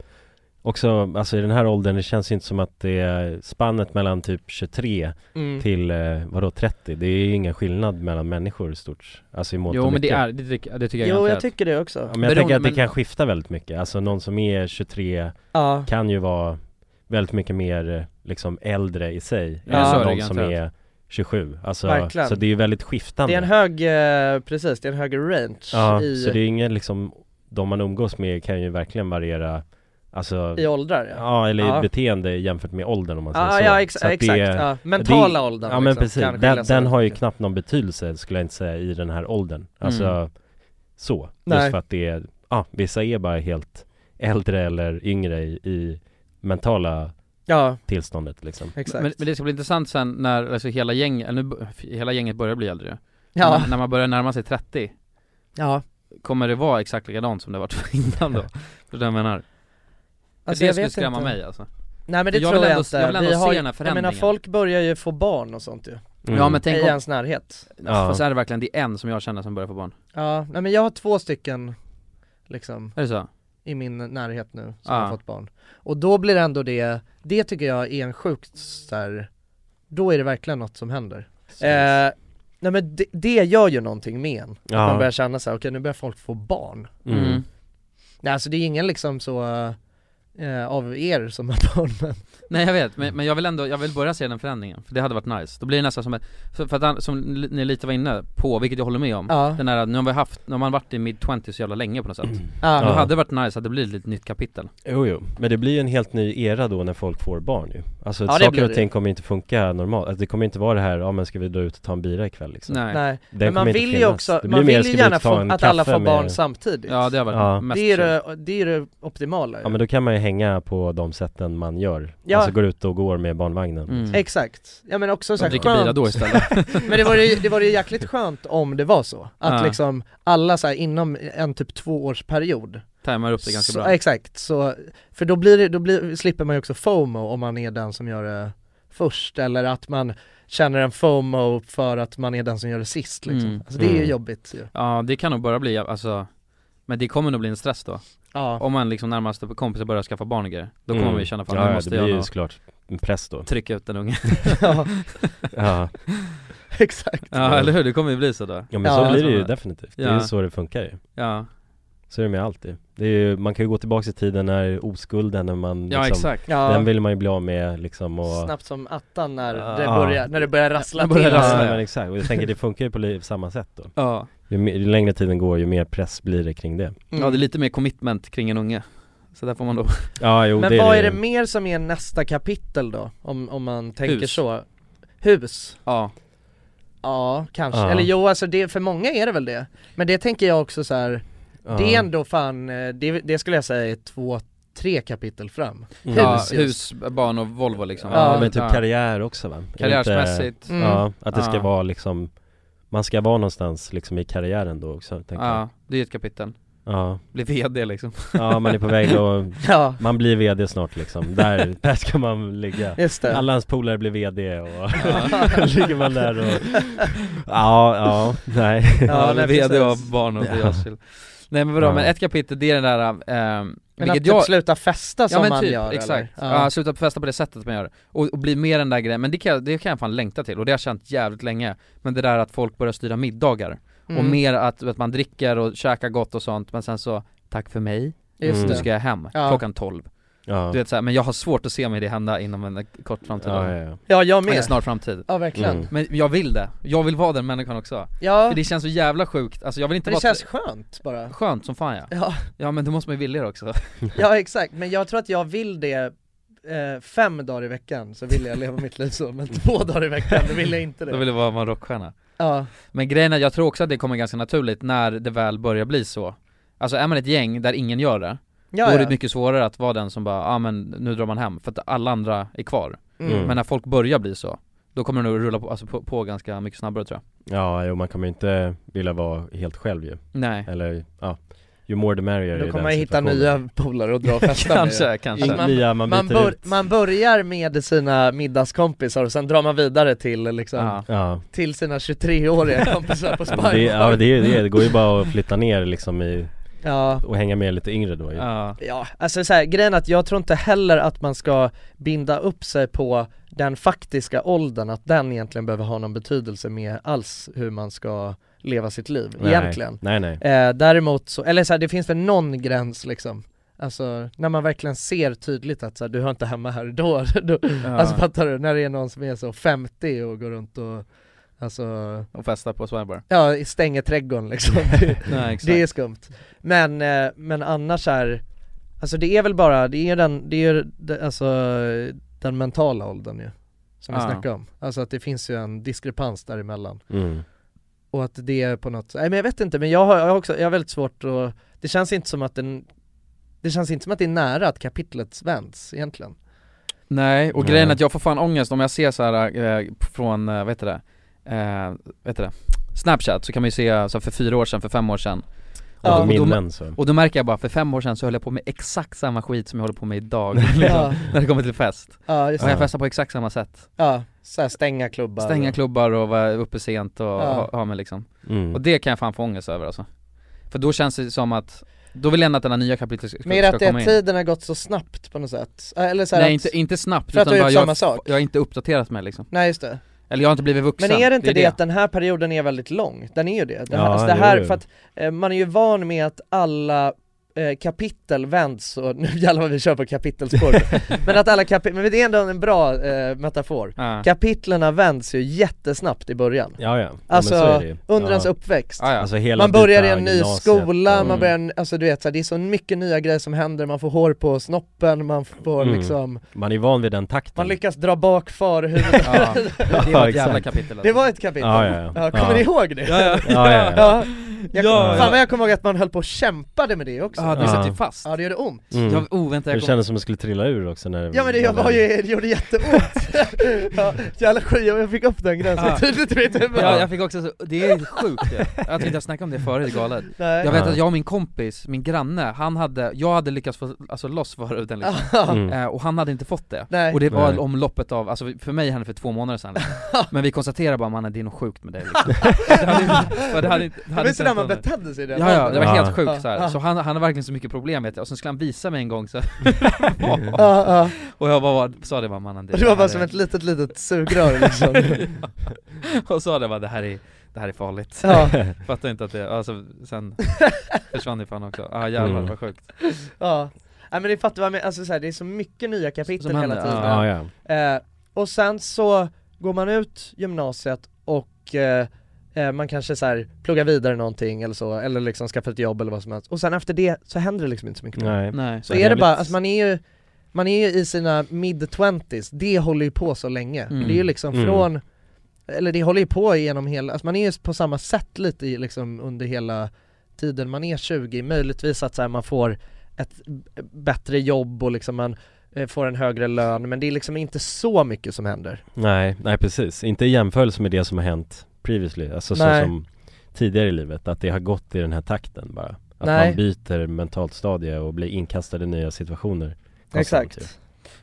A: också, alltså i den här åldern det känns ju inte som att det är spannet mellan typ 23
B: Mm.
A: till eh, vadå 30 Det är ju ingen skillnad mellan människor i stort Alltså i mått
C: Jo
A: och
C: men det
A: mycket.
C: är, det, tycker- det tycker jag
B: Jo jag
C: garanterat.
B: tycker det också.
A: Ja, men jag
C: Beroende-
A: tänker att det
C: men-
A: kan skifta väldigt mycket Alltså någon som är 23
B: Ja,
A: kan ju vara väldigt mycket mer eh, liksom äldre i sig
C: Ja,
A: än
C: så är det
A: någon som
C: garanterat.
A: är 27 alltså,
B: Verkligen.
A: Så det är ju väldigt skiftande
B: det är en hög, eh, precis, det är en hög range
A: Ja,
B: i,
A: så det är ingen liksom De man umgås med kan ju verkligen variera Alltså
B: i åldrar ja.
A: Ja eller
B: Ja.
A: beteende jämfört med åldern om man säger
C: alltså,
B: Ja,
A: så
B: ja, ex-
A: Så att
B: exakt,
A: det-
B: ja. mentala
A: det-
B: åldern
A: Ja men
B: liksom,
A: precis,
B: kan
A: den,
B: skilja sig
A: den har ju
B: mycket.
A: knappt någon betydelse skulle jag inte säga i den här åldern Alltså så,
B: Mm. Nej.
A: just för att det är, ja vissa är bara helt äldre eller yngre i, i mentala
B: Ja,
A: tillståndet liksom
B: exakt.
C: Men, men det ska bli intressant sen när alltså, hela, gäng, eller nu, b- hela gänget börjar bli äldre
B: ja,
C: när, när man börjar närma sig 30
B: ja.
C: Kommer det vara exakt likadant som det varit innan då? Förstår du vad jag menar?
B: Alltså,
C: det
B: jag
C: skulle
B: vet
C: skrämma
B: inte.
C: mig alltså.
B: Nej men det
C: Jag
B: tror
C: vill
B: jag
C: ändå-
B: inte.
C: jag vill ändå
B: Vi
C: se
B: har, ju-
C: den här
B: Jag menar
C: förändringen.
B: folk börjar ju få barn och sånt ju,
A: Mm.
C: Ja men
B: i
C: tänk om,
B: ens närhet.
A: Ja.
C: fast är det verkligen, det är en som jag känner som börjar få barn?
B: Ja, nej men jag har två stycken liksom
C: Är det så?
B: i min närhet nu som
C: Ja.
A: Ah.
B: har fått barn. Och då blir det ändå det, det tycker jag är en sjukt så här, då är det verkligen något som händer.
A: Så-
B: Eh, nej men det, det gör ju någonting med en,
A: Ja.
B: man börjar känna så här, okej nu börjar folk få barn.
A: mm.
B: Nej alltså det är ingen liksom så eh, av er som har barn men,
C: Nej jag vet, men, men jag vill ändå, jag vill börja se den förändringen, för det hade varit nice Då blir det nästan som ett, för, för att han, som li- ni lite var inne på, vilket jag håller med om
B: ja.
C: Den här, nu har vi haft, nu har man varit i mid 20 så jävla länge på något sätt
A: Mm.
B: ja.
C: Det
A: Ja.
C: hade varit nice att det blir ett litet nytt kapitel
A: Jo, jo, men det blir ju en helt ny era då när folk får barn ju Alltså
B: Ja, det blir
A: saker
B: det.
A: och ting kommer inte funka normalt, alltså, det kommer inte vara det här, ja men ska vi dra ut och ta en bira ikväll liksom
C: Nej,
B: Nej.
A: Den
B: Men man
A: kommer inte
B: vill ju
A: finnas.
B: också,
A: Det blir
B: man
A: mer,
B: vill
A: ska
B: ju
A: vi
B: gärna
A: ta
B: få,
A: en
B: att alla
A: kaffe
B: får barn
A: med-
B: samtidigt.
C: ja det har varit
A: Ja.
C: mest
B: det, är
C: kul.
B: det, det är det optimala ju.
A: Ja men då kan man ju hänga på de sätten man gör
B: Ja.
A: Alltså går ut och går med barnvagnen
C: Mm.
B: Liksom. Exakt, ja men också
C: De
B: såhär
C: dricker bira
B: skönt,
C: då istället
B: men det vore ju, det vore ju jäkligt skönt om det var så, att
C: Ja.
B: liksom alla så här inom en typ tvåårsperiod
C: Tajmar upp det ganska
B: så,
C: bra
B: Exakt, så, för då, blir det, då blir, slipper man ju också FOMO om man är den som gör det först eller att man känner en FOMO för att man är den som gör det sist liksom.
C: Mm.
B: alltså, det är ju
A: Mm.
B: jobbigt ju.
C: Ja det kan nog bara bli, alltså Men det kommer nog bli en stress då
B: Ja.
C: Om man liksom närmaste kompisar börjar skaffa barn och grejer Då kommer
A: Mm.
C: vi känna fan
A: ja,
C: nu
A: ja,
C: måste
A: det blir
C: jag
A: ju
C: nog
A: såklart en press då
C: trycka ut den ungen
B: ja,
A: Ja,
B: exakt.
C: Ja eller hur, det kommer ju bli så då
A: ja men
B: Ja.
A: så blir det ju
C: Ja.
A: definitivt, det är
C: Ja.
A: ju så det funkar ju
C: Ja,
A: Så är det med allt ju. det är ju, man kan ju gå tillbaka i tiden när oskulden när man
C: ja
A: liksom,
C: exakt
B: Ja.
A: Den vill man ju bli av med liksom och
B: Snabbt som attan när, det
A: Ja.
B: börjar, när det börjar rassla
C: Börjar
B: till.
C: rassla.
A: Ja, men exakt, och jag tänker det funkar ju på li- samma sätt då
C: Ja,
A: ju, mer- ju längre tiden går ju mer press blir det kring det
B: Mm.
C: ja det är lite mer commitment kring en unge Så där får man då
A: Ja jo
B: Men
A: det
B: vad är
A: ju.
B: det mer som är nästa kapitel då? Om, om man tänker
C: Hus.
B: så? Hus?
C: Ja,
B: Ja, kanske.
A: Ja.
B: Eller jo, alltså det, för många är det väl det. Men det tänker jag också så här.
A: Ja.
B: det är ändå fan, eh, det, det skulle jag säga är två tre kapitel fram.
C: Mm. Ja,
B: just.
C: hus, barn och Volvo liksom.
A: Ja, men typ karriär också va? Är det inte-
C: Karriärsmässigt. Mm.
A: Ja, att det ska
C: Ja.
A: vara liksom Man ska vara någonstans liksom i karriären då också, tänker jag
C: Ja, det är ett kapitel.
A: Ja
C: Bli VD liksom.
A: Ja man är på väg att,
C: Ja.
A: man blir VD snart liksom, där, där ska man ligga
C: Just det.
A: Alla hans polare blir VD och
C: Ja.
A: ligger man där och Ja, ja, nej
C: Ja, nej, VD och barn och
A: Ja.
C: ja. Nej men vadå,
A: Ja.
C: men ett kapitel det är den där, ehm,
J: Men att typ sluta festa som
C: ja, men
J: man
C: typ,
J: gör,
C: exakt.
J: eller? Ja.
C: Ja. sluta festa på det sättet man gör och, och bli mer den där grejen, men det kan, jag- det kan jag fan längta till och det har jag känt jävligt länge Men det där att folk börjar styra middagar och
J: Mm.
C: mer att, att man dricker och käkar gott och sånt men sen så, tack för mig,
J: Just
C: nu
J: det.
C: ska jag hem,
J: Ja.
C: klockan 12
A: Mm. Ja.
C: Du vet såhär, men jag har svårt att se mig det hända inom en kort framtid
A: Ja, ja, ja.
B: Ja, jag med.
C: Eller snar framtid
B: Ja, verkligen. Mm.
C: Men jag vill det, jag vill vara den människan också
B: Ja.
C: För det känns så jävla sjukt, alltså jag vill inte
B: Men det
C: vara
B: känns skönt bara.
C: Skönt som fan ja
B: Ja.
C: ja men då måste man ju vilja det också
B: Ja exakt, men jag tror att jag vill det eh, fem dagar i veckan så vill jag leva mitt liv så,
A: Mm.
B: men två dagar i veckan då vill jag inte det.
C: Då vill jag vara en rockstjärna
B: Ja.
C: Men grejen är, jag tror också att det kommer ganska naturligt när det väl börjar bli så Alltså är man ett gäng där ingen gör det,
B: Ja,
C: då är
B: ja.
C: det mycket svårare att vara den som bara, ja ah, men nu drar man hem, för att alla andra är kvar
A: Mm.
C: Men när folk börjar bli så, då kommer det nog rulla på, alltså på, på ganska mycket snabbare tror jag
A: Ja, jo man kommer ju inte vilja vara helt själv ju
C: Nej.
A: Eller, ja Ju more the merrier i
B: Då
A: den
B: kommer man hitta
A: situationen.
B: nya polare och dra och festa
A: Kanske,
B: med.
A: kanske.
B: Alltså,
A: Nya man byter
B: bör,
A: ut.
B: man börjar med sina middagskompisar och sen drar man vidare till liksom,
A: Ja.
B: till sina 23-åriga kompisar på Spybar.
A: det, ja, det, är- det, är- det går ju bara att flytta ner liksom i,
B: Ja.
A: och hänga med lite yngre då ju.
C: Ja.
B: Ja, alltså så här, grejen är att jag tror inte heller att man ska binda upp sig på den faktiska åldern, att den egentligen behöver ha någon betydelse med alls hur man ska leva sitt liv
A: Nej.
B: egentligen.
A: Nej, nej.
B: Eh, däremot så, eller så här, det finns väl någon gräns liksom. Alltså när man verkligen ser tydligt att så här, du hör inte hemma här då, då
C: Ja.
B: alltså fattar du, när det är någon som är så 50 och går runt och alltså
C: Och festa på Swinebar
B: Ja, stänger trädgården liksom. Det,
C: Nej, exakt.
B: det är skumt. Men, eh, men annars är, alltså det är väl bara, det är den, det är de- alltså den mentala åldern ju. Som vi
J: Ja.
B: snackade om. Alltså att det finns ju en diskrepans däremellan.
A: Mm.
B: Och att det är på något, nej men jag vet inte, men jag har, jag har också, jag har väldigt svårt att, det känns inte som att den, det känns inte som att det är nära att kapitlet vänds egentligen.
C: Nej, och
B: Nej.
C: grejen är att jag får fan ångest om jag ser så här eh, från, eh, vad heter det? Eh, vad heter det? Snapchat, så kan man ju se så här, för fyra år sedan, för fem år sedan
A: Och
C: och,
A: minnen så.
C: då, och då märker jag bara, för fem år sedan så höll jag på med exakt samma skit som jag håller på med idag
B: Ja.
C: liksom, När det kommer till fest
B: Ja, just
C: Och jag
B: det.
C: festar på exakt samma sätt
B: Ja, såhär stänga klubbar.
C: Stänga
B: och-
C: klubbar och vara uppe sent och
B: Ja.
C: ha, ha mig liksom
A: Mm.
C: Och det kan jag fan få ångest över alltså För då känns det som att, då vill jag ändå att den här nya kapitlet ska,
B: Men är
C: ska
B: det
C: komma
B: att
C: in
B: tiden har gått så snabbt på något sätt? Eh, Eller så här
C: Nej
B: att,
C: inte, inte snabbt,
B: För att du har
C: bara
B: gjort
C: jag,
B: samma sak?
C: jag har inte uppdaterat mig liksom
B: Nej just det
C: Eller jag har inte blivit vuxen,
B: Men är det inte det,
C: är
B: att den här perioden är väldigt lång? Den är ju det. Det här,
C: Ja,
B: alltså det
C: jo,
B: här
C: jo.
B: för att eh, man är ju van med att alla eh, kapitel vänds och nu jävlar vad vi kör på kapitelspår Men att alla kapitel, men det är ändå en bra eh, metafor
C: Ja.
B: Kapitlerna vänds ju jättesnabbt i början
A: Ja, ja. Ja, men
B: Alltså
A: så är det ju.
B: under
A: Ja.
B: ens uppväxt
A: Ja, ja. Alltså, hela
B: Man börjar i
A: byta
B: en ny
A: gymnasiet Mm.
B: skola,
A: och-
B: man börjar, en, alltså du vet så här, det är så mycket nya grejer som händer, man får hår på snoppen, man får
A: Mm.
B: liksom
A: Man är van vid den takten
B: Man lyckas dra bak förhuvudet
A: Ja. Det var ett jävla kapitel, alltså.
B: Det var ett kapitel,
A: Ja, ja, ja.
B: kommer
A: Ja.
B: ni ihåg det?
A: Ja, ja. Ja, ja, ja.
B: Jag,
A: Ja, ja.
B: Fan vad jag kommer ihåg att man höll på och kämpade med det också
C: Ah.
A: Ja, det satt ju Ja.
C: fast
B: Ja det gjorde ont
A: Mm.
C: Jag- oh, vänta, jag
A: Det
C: kom-
A: kändes som att jag skulle trilla ur också när
B: Ja men det, jag var ju, det gjorde jätteont! ja, jävla skit, jag fick upp den gränsen
C: Ja.
B: tydligt i mitt huvud
C: Ah. Ja jag fick också så, det är sjukt ju. Jag tänkte jag snackade om det förut, det är galet
B: Nej.
C: Jag vet
B: Ja.
C: att jag och min kompis, min granne, han hade, jag hade lyckats få alltså, loss förhuden liksom.
B: Ja. Mm.
C: eh, och han hade inte fått det
B: Nej.
C: Och det var
B: Nej.
C: om loppet av, alltså för mig hände det för två månader sedan liksom. Men vi konstaterade bara mannen det är något sjukt med dig
B: Ah.
C: liksom. det hade, inte- det hade, inte-
B: Det var
C: inte
B: så där
C: hänt
B: man
C: något.
B: betedde sig i den
C: Ja, ja det var
B: åldern.
C: helt
B: Ja.
C: sjukt så, här.
B: Ja.
C: så han, han har verkligen så mycket problem vet jag, och sen skulle han visa mig en gång så
B: ja.
C: Och jag bara sa det bara mannen
B: Det var bara
C: här
B: som
C: är-
B: ett litet litet sugrör liksom
C: och sa det bara det här är, det här är farligt
B: Ja.
C: Fattar inte att det, alltså sen försvann det fan också, ah jävlar
A: Mm.
C: vad sjukt
B: Ja, Nej, men ni fattar vad jag menar, alltså, så här, det är så mycket nya kapitel
C: Som
B: hela
C: händer,
B: tiden
C: ja.
A: Ja,
B: Eh, Och sen så går man ut gymnasiet och eh, eh, man kanske så här pluggar vidare någonting eller så, eller liksom skaffar ett jobb eller vad som helst Och sen efter det så händer det liksom inte så mycket mer.
A: Nej. Nej.
B: Så
A: Det
B: är
A: är
B: det bara,
A: lite-
B: alltså man är ju man är ju i sina mid-twenties, det håller ju på så länge.
A: Mm.
B: Det är ju liksom
A: Mm.
B: från, eller det håller ju på genom hela, alltså man är ju på samma sätt lite i, liksom under hela tiden man är 20, möjligtvis att så här, man får
E: ett b- bättre jobb och liksom man eh, får en högre lön men det är liksom inte så mycket som händer.
K: Nej, nej precis. Inte i jämförelse med det som har hänt previously, alltså så
E: Nej.
K: som tidigare i livet, att det har gått i den här takten bara. Att
E: Nej.
K: man byter mentalt stadie och blir inkastad i nya situationer. konstant ju.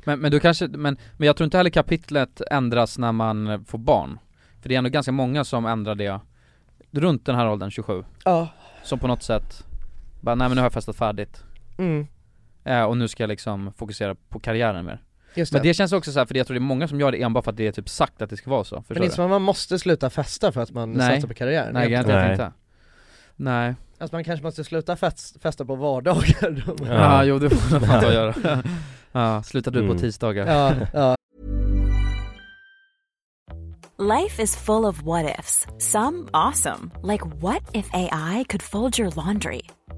C: Men, men du kanske, men, men jag tror inte heller kapitlet ändras när man får barn. För det är ändå ganska många som ändrar det runt den här åldern, 27.
E: Ja.
C: Som på något sätt, bara nej men nu har jag festat färdigt.
E: Mm.
C: Eh, och nu ska jag liksom fokusera på karriären mer.
E: Just
C: Men
E: det.
C: det känns också så här, för jag tror det är många som gör det enbart för att det är typ sagt att det ska vara så, förstår
E: Men det är som att man måste sluta festa för att man
C: Nej.
E: satsar på karriären.
C: Nej,
E: Egentligen.
C: garanterat inte. Nej.
E: Alltså man kanske måste sluta fest, festa på vardagar då.
C: Ja, jo det får man fan ta och göra. ja, slutar du
E: Mm.
C: på tisdagar?
E: Ja, ja.
D: Life is full of what ifs. Some awesome, like what if AI could fold your laundry?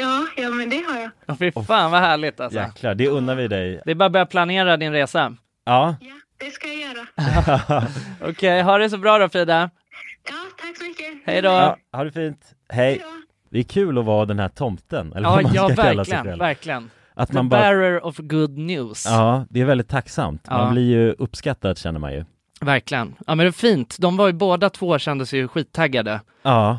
G: Ja, ja men det har jag.
L: Åh, Fy fan vad härligt alltså.
A: Jäklar, det unnar vi dig.
L: Det är bara att börja planera din resa.
A: Ja.
G: Det ska jag göra.
L: Okej, ha det så bra då Frida.
G: Tack så mycket.
L: Hej då.
A: ja ha det fint. Hej. Det är kul att vara den här tomten, eller
L: Ja,
A: vad man
L: ja
A: ska kalla sig
L: verkligen,
A: själv.
L: verkligen.
A: Att
L: The
A: man bara-
L: bearer of good news.
A: Ja, det är väldigt tacksamt.
L: Ja.
A: Man blir ju uppskattad känner man ju.
L: Verkligen. Ja men det är fint. De var ju båda två kände sig ju skittaggade.
A: Ja.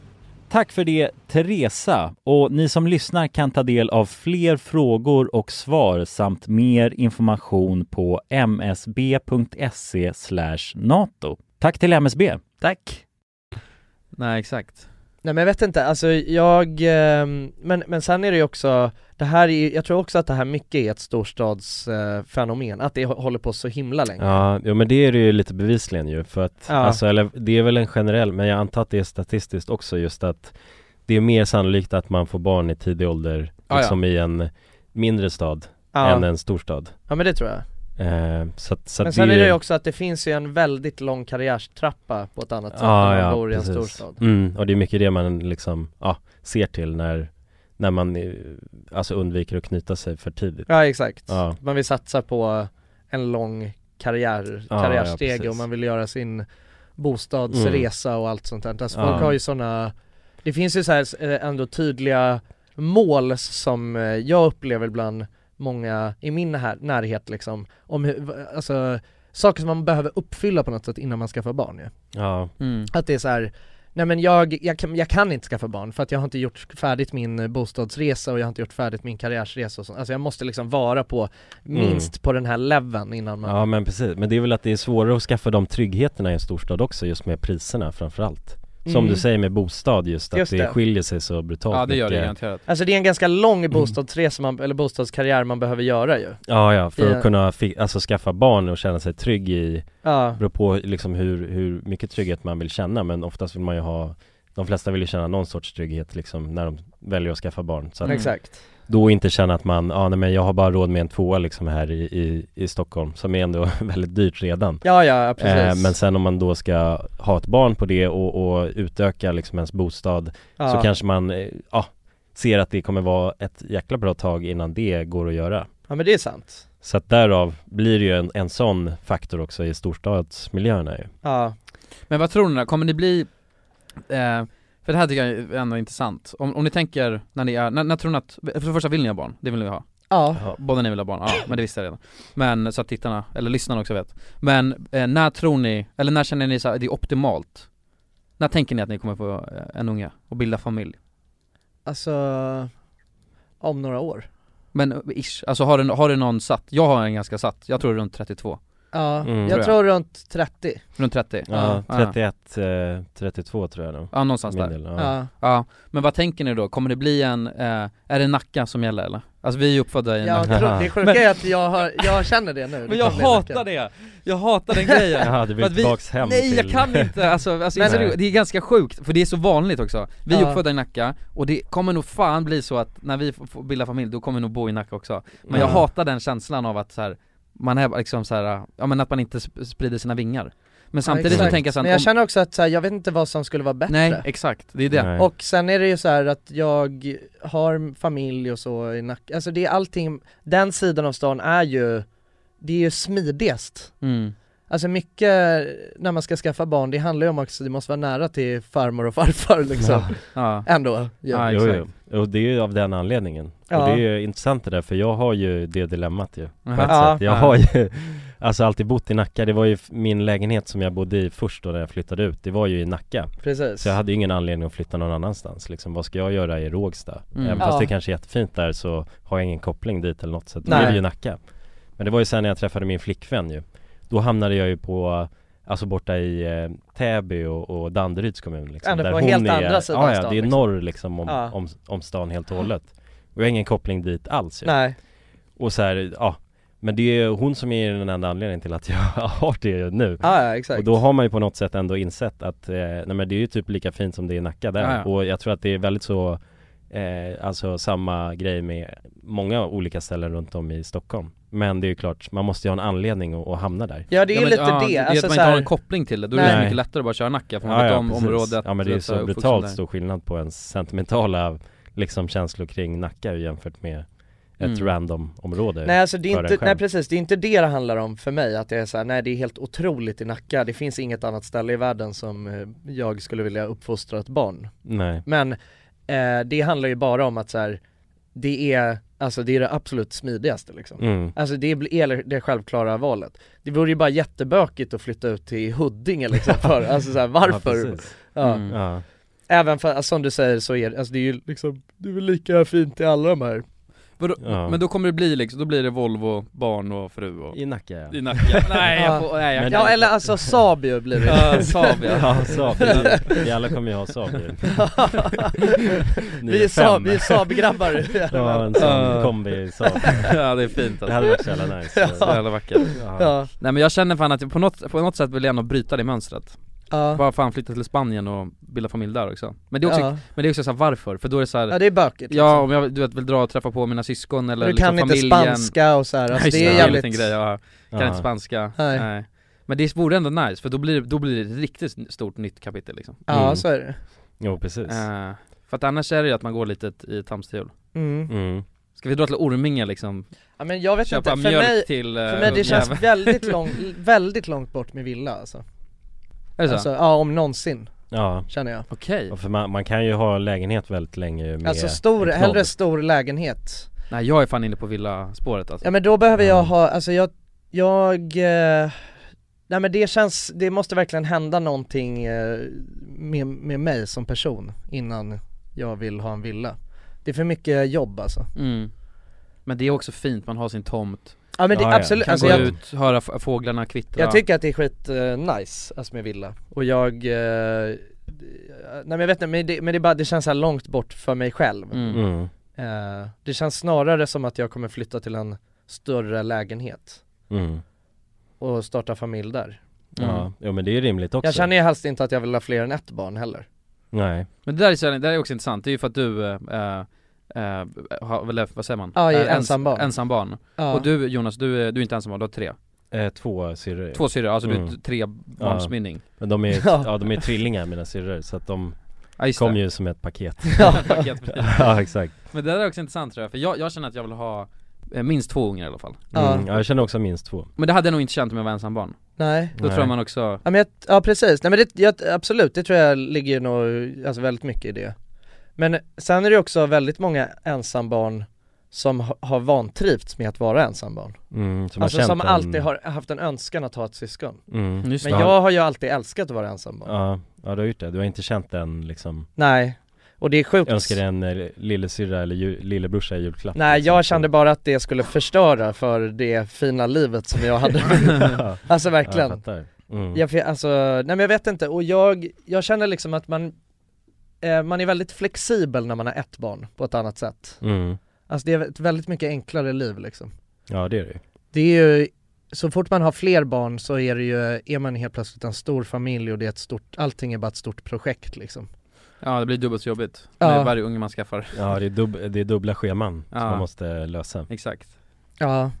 I: Tack för det Teresa och ni som lyssnar kan ta del av fler frågor och svar samt mer information på msb.se e NATO. Tack till MSB!
J: Tack!
C: Nej, exakt.
B: Nej men jag vet inte, alltså jag, ehm, men, men sen är det ju också, det här är, ju- jag tror också att det här mycket är ett storstadsfenomen, att det hå- håller på så himla länge.
A: Ja, jo, men det är det ju lite bevisligen ju för att,
B: Ja.
A: alltså eller det är väl en generell, men jag antar att det är statistiskt också just att det är mer sannolikt att man får barn i tidig ålder,
B: Ja, ja.
A: liksom i en mindre stad
B: Ja.
A: än en storstad.
B: Ja men det tror jag.
A: Eh, så att, så att
B: men sen
A: det
B: är det ju också att det finns ju en väldigt lång karriärstrappa på ett annat sätt
A: Ja,
B: när man
A: ja,
B: bor i en
A: precis.
B: storstad.
A: Mm, och det är mycket det man liksom, ja, ser till när, när man eh, alltså undviker att knyta sig för tidigt.
B: Ja exakt,
A: Ja.
B: man vill satsa på en lång karriär,
A: Ja, ja,
B: karriärsteg
A: precis. Mm.
B: och man vill göra sin bostadsresa och allt sånt där. Alltså
A: Ja.
B: folk har ju sådana, det finns ju så här eh, ändå tydliga mål som eh, jag upplever bland många i min här, närhet liksom, om hur, v- alltså saker som man behöver uppfylla på något sätt innan man skaffar barn ju.
C: Mm.
A: Ja.
B: Att det är så här Nej men jag, jag, kan, jag kan inte skaffa barn för att jag har inte gjort färdigt min eh, bostadsresa och jag har inte gjort färdigt min karriärsresa och sånt. Alltså jag måste liksom vara på minst på den här leveln innan man...
A: Ja men precis, men det är väl att det är svårare att skaffa de tryggheterna i en storstad också just med priserna framförallt Som
B: Mm.
A: du säger med bostad just, att
B: Just
A: det.
B: det.
A: skiljer sig så brutalt mycket.
B: Alltså det är en ganska lång bostadsresa man, eller bostadskarriär man behöver göra ju.
A: Ja ja, för
B: I-
A: att kunna fi- alltså, skaffa barn och känna sig trygg i,
B: Ja.
A: beror på liksom hur, hur mycket trygghet man vill känna men oftast vill man ju ha de flesta vill ju känna någon sorts trygghet liksom när de väljer att skaffa barn. Så att
B: Mm. Exakt.
A: Då inte känna att man, ja nej men jag har bara råd med en tvåa liksom här i, i, i Stockholm som är ändå väldigt dyrt redan. Eh,
B: Ja, ja, ja, precis.
A: men sen om man då ska ha ett barn på det och, och utöka liksom ens bostad så
B: Ja.
A: kanske man, eh, ja, ser att det kommer vara ett jäkla bra tag innan det går att göra.
B: Ja men det är sant.
A: Så att därav blir det ju en, en sån faktor också i storstadsmiljöerna ju.
B: Ja.
C: Men vad tror ni då? kommer ni bli, eh, för det här tycker jag är ändå intressant, om, om ni tänker när ni är, när, när tror ni att, för det första vill ni ha barn? Det vill ni ha?
B: Ja.
C: Båda ni vill ha barn, ja men det visste jag redan. Men så att tittarna, eller lyssnarna också vet. Men eh, när tror ni, eller när känner ni så här, det är optimalt? När tänker ni att ni kommer få eh, en unge och bilda familj?
B: Alltså, om några år.
C: Men eh, ish, alltså har du, har du någon satt? Jag har en ganska satt, jag tror runt 32
B: Ja, jag tror runt 30.
C: Runt 30?
A: Ja, 31, eh, 32 tror jag nog.
C: Ja någonstans
A: Min
C: där.
A: del, ja.
C: ja. Men vad tänker ni då? Kommer det bli en, eh, är det Nacka som gäller eller? Alltså vi är ju uppfödda i
B: Jag
C: Nacka.
B: tror, det sjuka är att jag, har, jag känner det nu.
C: Men jag hatar det! Jag hatar den grejen!
A: Ja, det blir
C: För att vi-
A: tillbaks hem
C: Nej jag
A: till-
C: kan inte, alltså, alltså
A: Men-
C: inser du? det är ganska sjukt, för det är så vanligt också Vi är
A: Ja.
C: uppfödda i Nacka, och det kommer nog fan bli så att när vi f- får bilda familj, då kommer vi nog bo i Nacka också Men jag
A: Ja.
C: hatar den känslan av att så här, man är liksom så här, ja men att man inte sp- sprider sina vingar Men samtidigt så
B: Exakt.
C: tänker jag sen,
B: Men jag
C: om,
B: känner också att så här, jag vet inte vad som skulle vara bättre.
C: nej exakt, det är det
A: Nej.
B: Och sen är det ju så här att jag har familj och så i Nacka, alltså det är allting, den sidan av stan är ju, det är ju smidigast.
C: Mm.
B: Alltså mycket när man ska skaffa barn, det handlar ju om också, det måste vara nära till farmor och farfar liksom.
C: Ja.
B: Ändå. ju.
A: jo, jo. Och det är ju av den anledningen.
B: Ja.
A: Och det är ju intressant det där för jag har ju det dilemmat ju. På ett
B: Aha. Ja.
A: sätt. Jag
B: Ja.
A: har ju alltså alltid bott i Nacka. Det var ju f- min lägenhet som jag bodde i först då när jag flyttade ut. Det var ju i Nacka.
B: Precis.
A: Så jag hade ju ingen anledning att flytta någon annanstans. Liksom, vad ska jag göra i Rågsta?
B: Mm.
A: Även fast
B: Ja.
A: det kanske är jättefint där så har jag ingen koppling dit eller något. Så att då
B: Nej.
A: blev det ju Nacka. Men det var ju sen när jag träffade min flickvän ju. Då hamnade jag ju på Alltså borta i eh, Täby och, och Danderyds kommun liksom,
B: Ändå på helt andra sidan
A: ja, ja,
B: stan,
A: det är
B: liksom.
A: norr liksom om,
B: Ja.
A: om, om stan helt och hållet Och jag har ingen koppling dit alls ju.
B: Nej.
A: Och så här, ja Men det är hon som är den enda anledningen till att jag har det nu
B: Ja, ja, exakt.
A: Och då har man ju på något sätt ändå insett att eh, Nej men det är ju typ lika fint som det är i Nacka där
B: Ja, ja.
A: Och jag tror att det är väldigt så eh, Alltså samma grej med många olika ställen runt om i Stockholm Men det är ju klart, man måste ju ha en anledning att, att hamna där
B: Ja det är
C: men-
B: lite
C: ja,
B: det,
C: det är att
B: alltså
C: man
B: så
C: inte har
B: här-
C: en koppling till det, då är det
A: Nej.
C: så mycket lättare att bara köra Nacka för man vet om
A: precis.
C: området eh,
A: Ja men det är
C: och
A: så
C: uppvuxen där.
A: brutalt stor skillnad på ens sentimentala liksom känslor kring Nacka jämfört med ett
B: Mm.
A: random område
B: Nej alltså det
A: för
B: är
A: en
B: inte,
A: själv.
B: nej precis, det är inte det det handlar om för mig att det är så här, nej det är helt otroligt i Nacka, det finns inget annat ställe i världen som eh, jag skulle vilja uppfostra ett barn.
A: Nej.
B: Men eh, det handlar ju bara om att så här, det är, alltså det är det absolut smidigaste liksom.
A: Mm.
B: Alltså det bl- är det självklara valet. Det vore ju bara jättebökigt att flytta ut till Huddinge liksom för, alltså så här, varför?
A: Ja, precis.
B: Ja.
A: Mm. Ja.
B: Även för, alltså, som du säger så är det, alltså det är ju liksom, det är väl lika fint i alla de här
C: Vadå?
A: Ja.
C: Men då kommer det bli liksom, då blir det Volvo, barn och fru och...
A: I Nacka ja.
C: I Nacka, nej jag får, nej jag
B: Ja eller alltså Saab ju blir det
C: Ja, Saab, ja.
A: Ja, Saab. Vi- vi alla kommer ju ha Saab ju. Ni
B: Vi är
A: är fem.
B: Saab, vi är Saab-grabbar
A: Ja, en sån kombi Saab.
C: Ja det är fint alltså.
A: Det hade varit så jävla nice.
C: Ja. Så jävla vackert
A: Ja.
B: Ja.
C: Nej men jag känner fan att jag på något, på något sätt vill jag ändå bryta det mönstret
B: Ja.
C: Bara fan flytta till Spanien och bilda familj där också Men det är också,
B: Ja.
C: men det är också så här, varför? För då är det så här,
B: Ja, det är bökigt,
C: Ja
B: liksom.
C: om jag du vet, vill dra och träffa på mina syskon eller
B: Du kan
C: liksom
B: inte
C: familjen.
B: spanska och så här, alltså,
C: Nej,
B: det
C: just
B: är
C: en
B: jävligt-
C: liten grej, ja. Kan
B: Ja.
C: inte spanska,
B: Nej.
C: nej. Men det vore ändå nice för då blir, det- då blir det ett riktigt stort nytt kapitel liksom
B: Ja, Mm. så är det.
A: Jo precis
C: Eh, För att annars är det ju att man går lite t- i tamstehjul
B: Mm.
A: Mm.
C: Ska vi dra till Orminge liksom?
B: Ja men jag vet
C: Köpa
B: inte, för
C: mjölk
B: mig,
C: till, eh,
B: för mig det känns
C: ungjäveln.
B: väldigt långt, väldigt långt bort med villa alltså
C: Är det så?
B: Alltså, ja om nånsin
A: Ja.
B: Känner jag.
C: Okej.
A: Och För man, man kan ju ha en lägenhet väldigt länge med
B: Alltså stor,
A: en knodd.
B: hellre stor lägenhet
C: Nej jag är fan inne på villaspåret alltså
B: Ja men då behöver jag ha, alltså jag, jag eh, Nej men det känns, det måste verkligen hända någonting eh, med, med mig som person innan jag vill ha en villa. Det är för mycket jobb alltså.
C: Mm. Men det är också fint, man har sin tomt
B: Ja, men det- Ja, ja. absolut.
C: Kan
B: Alltså,
C: gå
B: jag-
C: ut, höra f- fåglarna kvittra
B: Jag tycker att det är skit eh, nice alltså med villa och jag, eh, nej men jag vet inte men det, men det, är bara, det känns så här långt bort för mig själv.
C: Mm. Mm.
B: Eh, det känns snarare som att jag kommer flytta till en större lägenhet
A: Mm.
B: och starta familj där.
A: Ja, jo men det är ju rimligt också
B: Jag känner ju helst inte att jag vill ha fler än ett barn heller.
A: Nej
C: Men det där är, så- det där är också intressant, det är ju för att du eh, eh, har, eller vad säger man?
B: Ja, är
C: Eh, ens-
B: ensambarn.
C: Ensambarn.
B: Ja.
C: Och du Jonas, du, är- du är inte ensambarn, du har tre.
A: eh, Två syrror
C: Två syrror, alltså du är
A: Mm.
C: t- trebarnsmynning.
A: ja. Men de är,
C: Ja.
A: ja. de är tvillingar mina syrror så att de
C: Ja, just
A: kom
C: det.
A: ju som ett paket
C: Paketbil.
A: Ja exakt
C: Men det där är också intressant tror jag, för jag, jag känner att jag vill ha eh, minst två ungar i alla fall.
A: mm. ja, jag känner också minst två
C: Men det hade jag nog inte känt om jag var ensambarn.
B: Nej.
C: Då tror
A: Nej.
C: jag man också,
B: Ja, men jag, ja precis, nej men det, jag, absolut, det tror jag ligger nog, alltså väldigt mycket i det. Men sen är det också väldigt många ensambarn som ha, har vantrivts med att vara ensambarn.
A: Mm, som har
B: alltså
A: känt
B: som
A: en-
B: alltid har haft en önskan att ha ett syskon.
A: Mm, just
B: men
A: det.
B: jag har ju alltid älskat att vara ensambarn.
A: Ja, ja du har gjort det, du har inte känt den liksom
B: Nej, och det är sjukt.
A: Jag önskar dig en eh, lillasyrra eller ju, lillebrorsa i julklapp liksom.
B: Nej jag kände bara att det skulle förstöra för det fina livet som jag hade
A: Ja.
B: Alltså
A: Ja,
B: verkligen
A: jag fattar. Mm.
B: jag, fe- alltså, nej men jag vet inte och jag, jag känner liksom att man eh, Man är väldigt flexibel när man har ett barn på ett annat sätt
A: Mm.
B: Alltså det är ett väldigt mycket enklare liv liksom
A: Ja det är det ju.
B: Det är ju, så fort man har fler barn så är det ju, är man helt plötsligt en stor familj och det är ett stort, allting är bara ett stort projekt liksom
C: ja det blir dubbelt så jobbigt.
B: Ja.
C: Med varje unge man skaffar.
A: Ja det är, dub- det är dubbla scheman
C: Ja.
A: som man måste lösa
C: Exakt.
B: Ja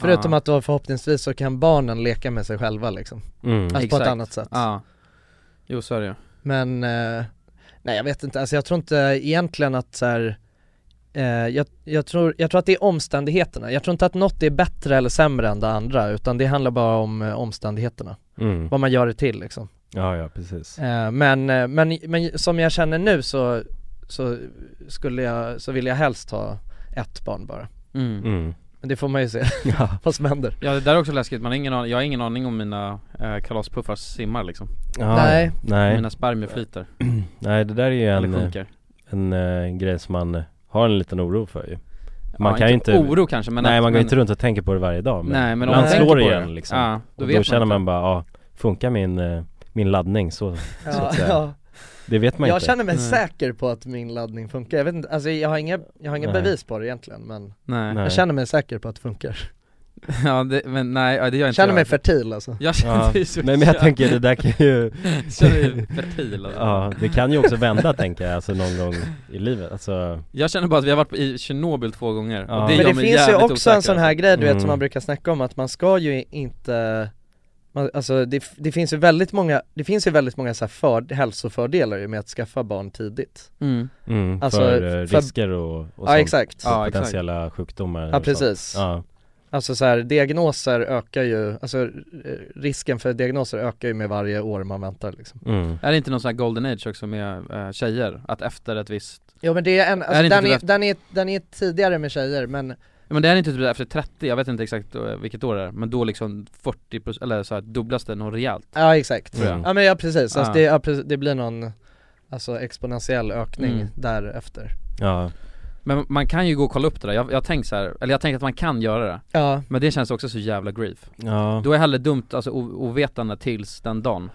B: Förutom
C: Ja.
B: att då förhoppningsvis så kan barnen leka med sig själva liksom
A: Mm.
B: Alltså på
C: Exakt.
B: ett annat sätt
C: Ja. Jo så är det ju.
B: Men, eh, nej jag vet inte, alltså jag tror inte egentligen att så här, eh, jag, jag, tror, jag tror att det är omständigheterna, jag tror inte att något är bättre eller sämre än det andra utan det handlar bara om eh, omständigheterna,
A: Mm.
B: vad man gör det till liksom
A: Ja ja precis
B: Eh, men, eh, men, men som jag känner nu så, så skulle jag, så vill jag helst ha ett barn bara
C: Mm. Mm.
B: Men det får man ju se
A: Ja.
B: vad som händer
C: Ja det där är också läskigt, man har ingen aning, jag har ingen aning om mina eh, kalaspuffar simmar liksom
A: Ja, Nej. nej.
C: Mina spermier
B: eh,
C: flyter
A: Nej det där är ju en,
C: Eller
A: eh,
C: sjunker.
A: en eh, grej som man har en liten oro för ju man
C: Ja,
A: kan
C: inte
A: ju inte
C: oro kanske, men
A: Nej
C: att-
A: man går
C: men-
A: inte runt och tänker på det varje dag men,
C: Nej, men om
A: ibland
C: man tänker
A: slår
C: på
A: igen
C: det,
A: liksom
C: ja, då
A: Och
C: vet
A: då
C: man
A: känner
C: inte.
A: man bara, ja funkar min, eh, min laddning så, så
B: Ja,
A: att säga
B: ja.
A: Det vet man
B: jag
A: inte
B: känner mig säker på att min laddning funkar, jag vet inte, alltså jag har inga, jag har inga
C: Nej.
B: bevis på det egentligen men
C: Nej.
B: jag känner mig säker på att det funkar
C: Ja det, men nej ja, det gör inte
B: Känner
C: jag.
B: mig fertil, alltså.
C: Jag känner mig
A: Ja.
C: så
A: Nej men jag tänker det där kan ju
C: Känner mig fertil alltså.
A: Ja det kan ju också vända tänker jag alltså någon gång i livet alltså
C: Jag känner bara att vi har varit i Tjernobyl två gånger
A: Ja.
C: och det
A: Men
C: gör
B: Men det
C: mig
B: finns ju
C: jävligt
B: också
C: osäker,
B: en sån här
C: alltså.
B: grej du vet som
A: Mm.
B: man brukar snacka om att man ska ju inte man, Alltså det, f- det finns ju väldigt många, det finns ju väldigt många så här för, hälsofördelar ju med att skaffa barn tidigt
C: Mm.
A: Mm,
B: Alltså,
A: för, eh,
B: för-
A: risker och, och
B: Ja,
A: sånt.
B: exakt.
A: Så
B: Ja, exakt.
A: potentiella sjukdomar
B: Ja
A: och sånt.
B: precis
A: ja.
B: Alltså så här, diagnoser ökar ju, alltså eh, risken för diagnoser ökar ju med varje år man väntar liksom
A: Mm.
C: Är det inte någon sån här golden age också med eh, tjejer? Att efter ett visst
B: Ja men det är en, alltså,
C: det inte
B: den, är,
C: typ
B: den, är, den är tidigare med tjejer men
C: Ja, Men det är inte typ efter 30, jag vet inte exakt eh, vilket år det är, men då liksom 40% eller så här dubblas det något rejält
B: Ja exakt,
C: Tror jag.
B: ja men ja precis, alltså,
C: Ah.
B: det, ja, precis. det blir någon alltså, exponentiell ökning
C: Mm.
B: därefter
A: Ja
C: Men man kan ju gå och kolla upp det där, jag, jag tänker så här, eller jag tänker att man kan göra det
B: Ja.
C: Men det känns också så jävla grief
A: Ja.
C: Då är hellre dumt, alltså o- ovetande tills den dagen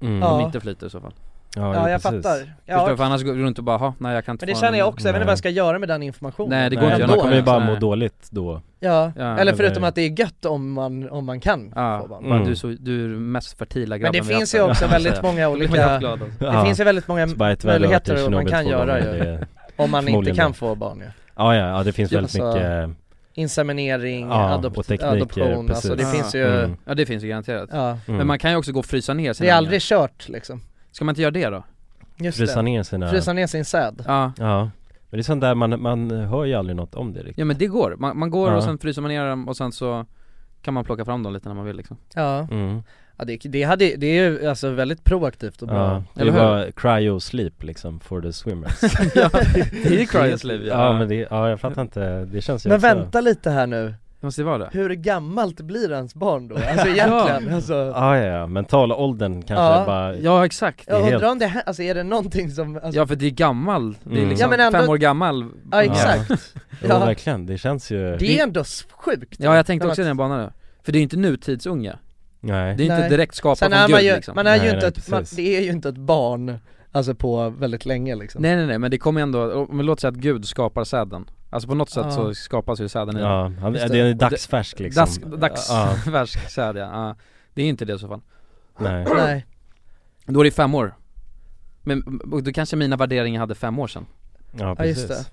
A: Mm.
C: Om
B: Ja.
C: inte flyter i så fall
A: Ja,
B: Ja, jo, jag precis. fattar. Ja,
C: Förstår du?
B: och-
C: För annars går du runt och bara, "Ha, nej jag kan inte
B: Men det
C: få
B: känner jag
C: någon-"
B: också, jag vet inte vad jag ska göra med den informationen
C: Nej, det går inte att
A: Nej,
C: göra
A: man
C: något
A: kommer ju
C: åt det.
A: bara må
C: Nej.
A: dåligt då
B: Ja,
C: Ja,
B: eller
C: eller-
B: förutom att det är gött om man, om man kan
C: Ja,
B: få barn
C: bara, du, är så, du är den mest fertila
B: Men
C: grabben
B: det
C: vi har
B: finns
C: haft
B: ju
C: här."
B: också
C: Ja,
B: väldigt
C: så här.
B: många
C: Då blir man
B: olika,
C: jävligt glad, alltså.
B: det
A: Ja.
B: finns ju väldigt många
A: Så bara ett väl
B: möjligheter
A: över till
B: och man
A: Tjernobyl
B: kan
A: två
B: göra
A: gånger,
B: ju
A: det är
B: Om man inte
A: förmodligen
B: kan
A: det.
B: få barn ju
A: Ja ja, ja det finns väldigt
B: Alltså,
A: mycket
B: Inseminering,
A: Ja,
B: adopt-
A: och tekniker,
B: adoption, alltså det
A: precis.
B: finns ju
A: Mm.
C: Ja det finns ju garanterat
B: Ja. Mm.
C: Men man kan ju också gå och frysa ner sina
B: Det är
C: ungar.
B: aldrig kört liksom
C: Ska man inte göra det då?
B: Just
A: Frysa
B: det.
A: ner sina-
B: Frysa ner sin säd
C: Ja
A: Ja Men det är sånt där man, man hör ju aldrig något om det riktigt
C: Ja men det går, man, man går
A: Ja.
C: och sen fryser man ner dem och sen så kan man plocka fram dem lite när man vill liksom
B: Ja,
A: Mm.
B: ja det, det, hade, det är ju alltså väldigt proaktivt och bra
A: Ja, det
C: Eller hur?
A: var cryo sleep liksom for the swimmers
C: Ja, det är ju cryo sleep,
A: ja.
C: ja.
A: men det, ja jag fattar inte, det känns ju
B: Men
A: också-
B: vänta lite här nu,
C: Det måste ju vara det.
B: Hur gammalt blir hans barn då? Alltså egentligen, alltså
A: Ah, ja, ja, mentala åldern kanske
B: Ja.
A: bara
C: Ja exakt,
B: Jag undrar om det här, alltså är det någonting som, alltså,
C: Ja för det är gammal, det är
A: Mm.
C: liksom
B: Ja, men ändå-
C: fem år gammal
B: Ja, exakt.
A: Jo,
B: Ja.
A: verkligen, det känns ju
B: det är ändå s- sjukt
C: Ja jag tänkte
B: När
C: också i
B: man-
C: den banan nu. För det är ju inte nutidsunga,
A: Nej
C: det är ju inte
B: Nej.
C: direkt skapat
B: Sen
C: från
B: är
C: Gud
B: man ju,
C: liksom
B: man är
A: Nej,
B: ju inte
A: nej,
B: ett, man,
A: precis.
B: det är ju inte ett barn, alltså på väldigt länge liksom
C: Nej nej nej, men det kommer ändå, men låt säga att Gud skapar säden Alltså på något sätt
B: Ja.
C: så skapas ju säden i den.
A: Ja, han,
C: Just
A: det är
C: Och det-
A: dagsfärsk liksom
C: Dags,
A: Ja,
C: dagsfärsk säd ja, ja. Det är inte det i så fall
A: nej
B: Nej.
C: Då är det fem år Men och då kanske mina värderingar hade fem år sedan
A: Ja
B: Ja, just
A: precis
B: det.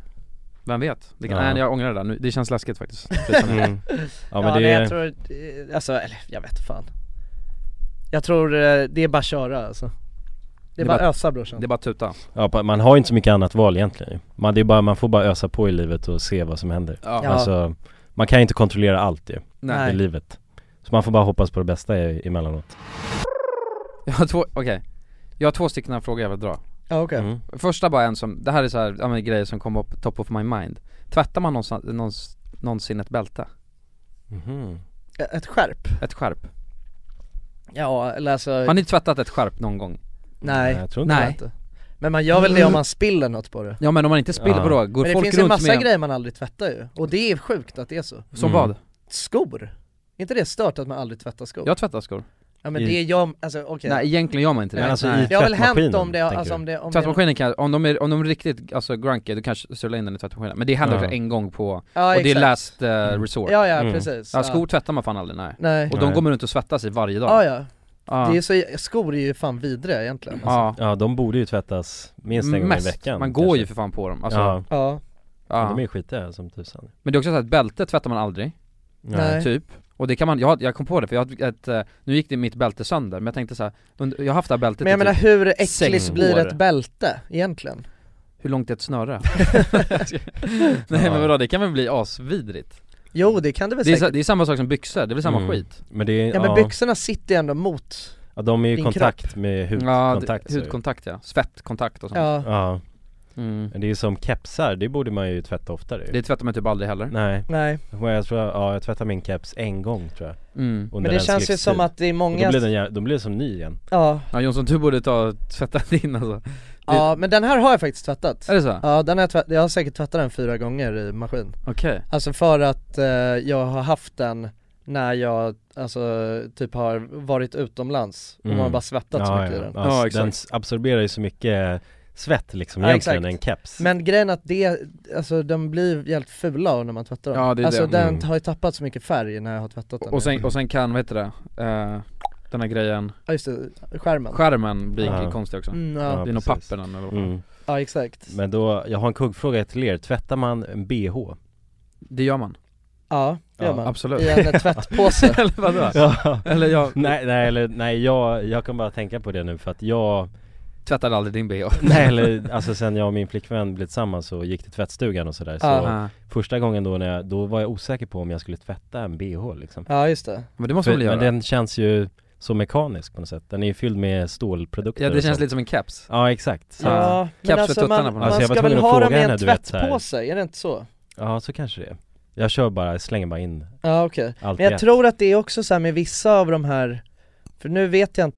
C: Vem vet? Det kan,
A: Ja.
C: Nej jag ångrar det där nu, det känns läskigt faktiskt
A: Mm. Ja
B: Ja
A: men
B: men
A: det
B: jag
A: är,
B: tror, eh, alltså eller jag vet fan Jag tror eh, det är bara att köra alltså Det är bara att ösa brorsan
C: Det är bara att tuta
A: ja, pa- man har ju inte så mycket annat val egentligen ju. man, det är bara, man får bara ösa på i livet och se vad som händer
C: Ja.
A: Alltså, man kan ju inte kontrollera allt ju
C: Nej.
A: i livet Så man får bara hoppas på det bästa e- emellanåt
C: Jag har två, okej Jag har två stycken här frågor jag vill dra
B: Ja okej
A: Mm.
C: Första bara en som, det här är så här, ja, men grejer som kom upp top of my mind Tvättar man någonsin, någons, någonsin ett bälte?
A: Mhm.
B: Ä- Ett skärp?
C: Ett skärp?
B: Ja eller alltså,
C: Har ni tvättat ett skärp någon gång?
B: nej,
A: Jag tror inte
C: Nej
B: jag inte. Men man gör väl det om man spiller något på det?
C: Ja men om man inte spiller
A: Ja.
C: på då, går
B: Men det
C: folk
B: finns ju en
C: runt
B: massa
C: med
B: grejer man aldrig tvättar ju, och det är sjukt att det är så
C: Som
A: Mm.
C: vad?
B: Skor? Är inte det stört att man aldrig tvättar skor?
C: Jag tvättar skor
B: ja men det är jag, alltså okej
C: Nej egentligen gör man inte det
A: Men alltså i
B: Det har väl hänt
A: tvättmaskinen,
B: om det,
A: tänker
B: alltså
A: du?
B: om det, om det
C: Tvättmaskinen kan, om de är, om de är riktigt alltså grunky, då kanske surlar in den i tvättmaskinen Men det händer
A: Ja.
C: också en gång på,
B: ja,
C: och det är
B: exakt.
C: last eh,
A: Mm.
C: resort ja,
B: Ja ja
A: Mm.
B: precis
C: skor tvättar man fan aldrig, nej
B: Nej,
C: Och de
A: Nej.
C: går man runt och svettas i varje dag
B: ja ja,
C: Ja.
B: det är så, skor är ju fan vidriga egentligen alltså.
C: Ja,
A: Ja de borde ju tvättas minst en gång i
C: mest,
A: veckan
C: man går
A: kanske.
C: ju för fan på dem alltså,
A: ja.
B: Ja,
C: ja.
A: de är ju skitiga som tusan
C: Men det är också så att bälte tvättar man aldrig,
B: nej,
C: typ Och det kan man, jag, jag kom på det för jag hade ett, eh, nu gick det mitt bälte sönder men jag tänkte så här, und- jag har haft det här bältet
B: Men jag
C: i
B: menar
C: typ,
B: hur
C: sex
B: äckligt blir
C: år.
B: ett bälte egentligen?
C: hur långt är ett snöre? Nej men vadå, det kan väl bli asvidrigt?
B: Jo det kan det väl
C: Det är,
B: säkert
C: sa- det är samma sak som byxor, det är väl samma
A: Mm.
C: skit?
A: Men det är,
B: Ja men byxorna sitter ju ändå mot,
A: ja, de är ju i
B: din
A: kontakt med hudkontakt
C: Ja,
A: så
C: det,
A: ju.
C: hudkontakt ja, svettkontakt och sånt
B: ja,
A: Ja,
C: mm.
A: men det är ju som kepsar, det borde man ju tvätta oftare ju.
C: Det tvättar man typ aldrig heller
A: Nej,
B: nej
A: Men jag tror, ja jag tvättar min keps en gång tror jag
C: mm.
A: under
B: Men det
A: ens
B: känns ju
A: livstid.
B: som att det är
A: Och
B: många,
A: Då blir den, jä- då blir det som ny igen
B: ja,
C: Ja Jonsson du borde ta och tvätta din alltså
B: ja men den här har jag faktiskt tvättat
C: Är det så?
B: Ja den har jag, tvätt, jag har säkert tvättat den fyra gånger i maskin
C: Okej
B: Alltså för att eh, jag har haft den när jag alltså typ har varit utomlands och
A: Mm.
B: man har bara svettat så mycket i
A: ja.
B: den
A: Ja,
C: Ja,
A: s- den s- absorberar ju så mycket svett liksom
B: Ja,
A: egentligen
B: exakt.
A: en keps
B: Men grejen att det, alltså de blir jävligt fula av när man tvättar dem
C: Ja, det är
B: Alltså
C: det.
B: den
A: Mm.
B: har ju tappat så mycket färg när jag har tvättat den
C: och sen, och sen kan, vad heter det, eh, den här grejen,
B: Ja just det, skärmen
C: skärmen blir
A: Ja.
C: konstig också
B: mm,
A: Ja,
B: ja.
C: Det är nog
A: precis.
C: papper den eller vad fan.
A: mm.
B: ja exakt
A: Men då, jag har en kuggfråga till er, tvättar man en bh?
C: Det gör man,
B: Ja, det gör
A: Ja,
B: man
C: absolut
B: I en tvättpåse
C: Eller vadå?
A: Ja.
C: Eller jag
A: Nej, nej eller nej jag, jag kan bara tänka på det nu för att jag
C: tvättade aldrig din bh
A: Nej eller alltså sen jag och min flickvän blev tillsammans och gick till tvättstugan och sådär så
C: Ja.
A: Första gången då när jag, då var jag osäker på om jag skulle tvätta en bh liksom
B: Ja just det
C: Men det måste man
A: För-
C: väl göra?
A: Men den känns ju så mekanisk på något sätt, den är ju fylld med stålprodukter
C: ja det
A: och
C: känns
A: sånt.
C: lite som en keps
A: Ja exakt, så, ja.
B: Ja, men
C: Kapsla
B: alltså
C: tuttarna
B: man,
C: på
B: man
C: den.
A: Alltså, jag var
B: ska väl
A: tvungen att
B: ha
A: fråga
B: dem i
A: henne,
B: en
A: du vet, så här.
B: tvättpåse, är det inte så?
A: så kanske det är. Jag kör bara, slänger bara in
B: Ja okej
A: allt
B: Men jag
A: rätt.
B: tror att det är också så här med vissa av de här, för nu vet jag inte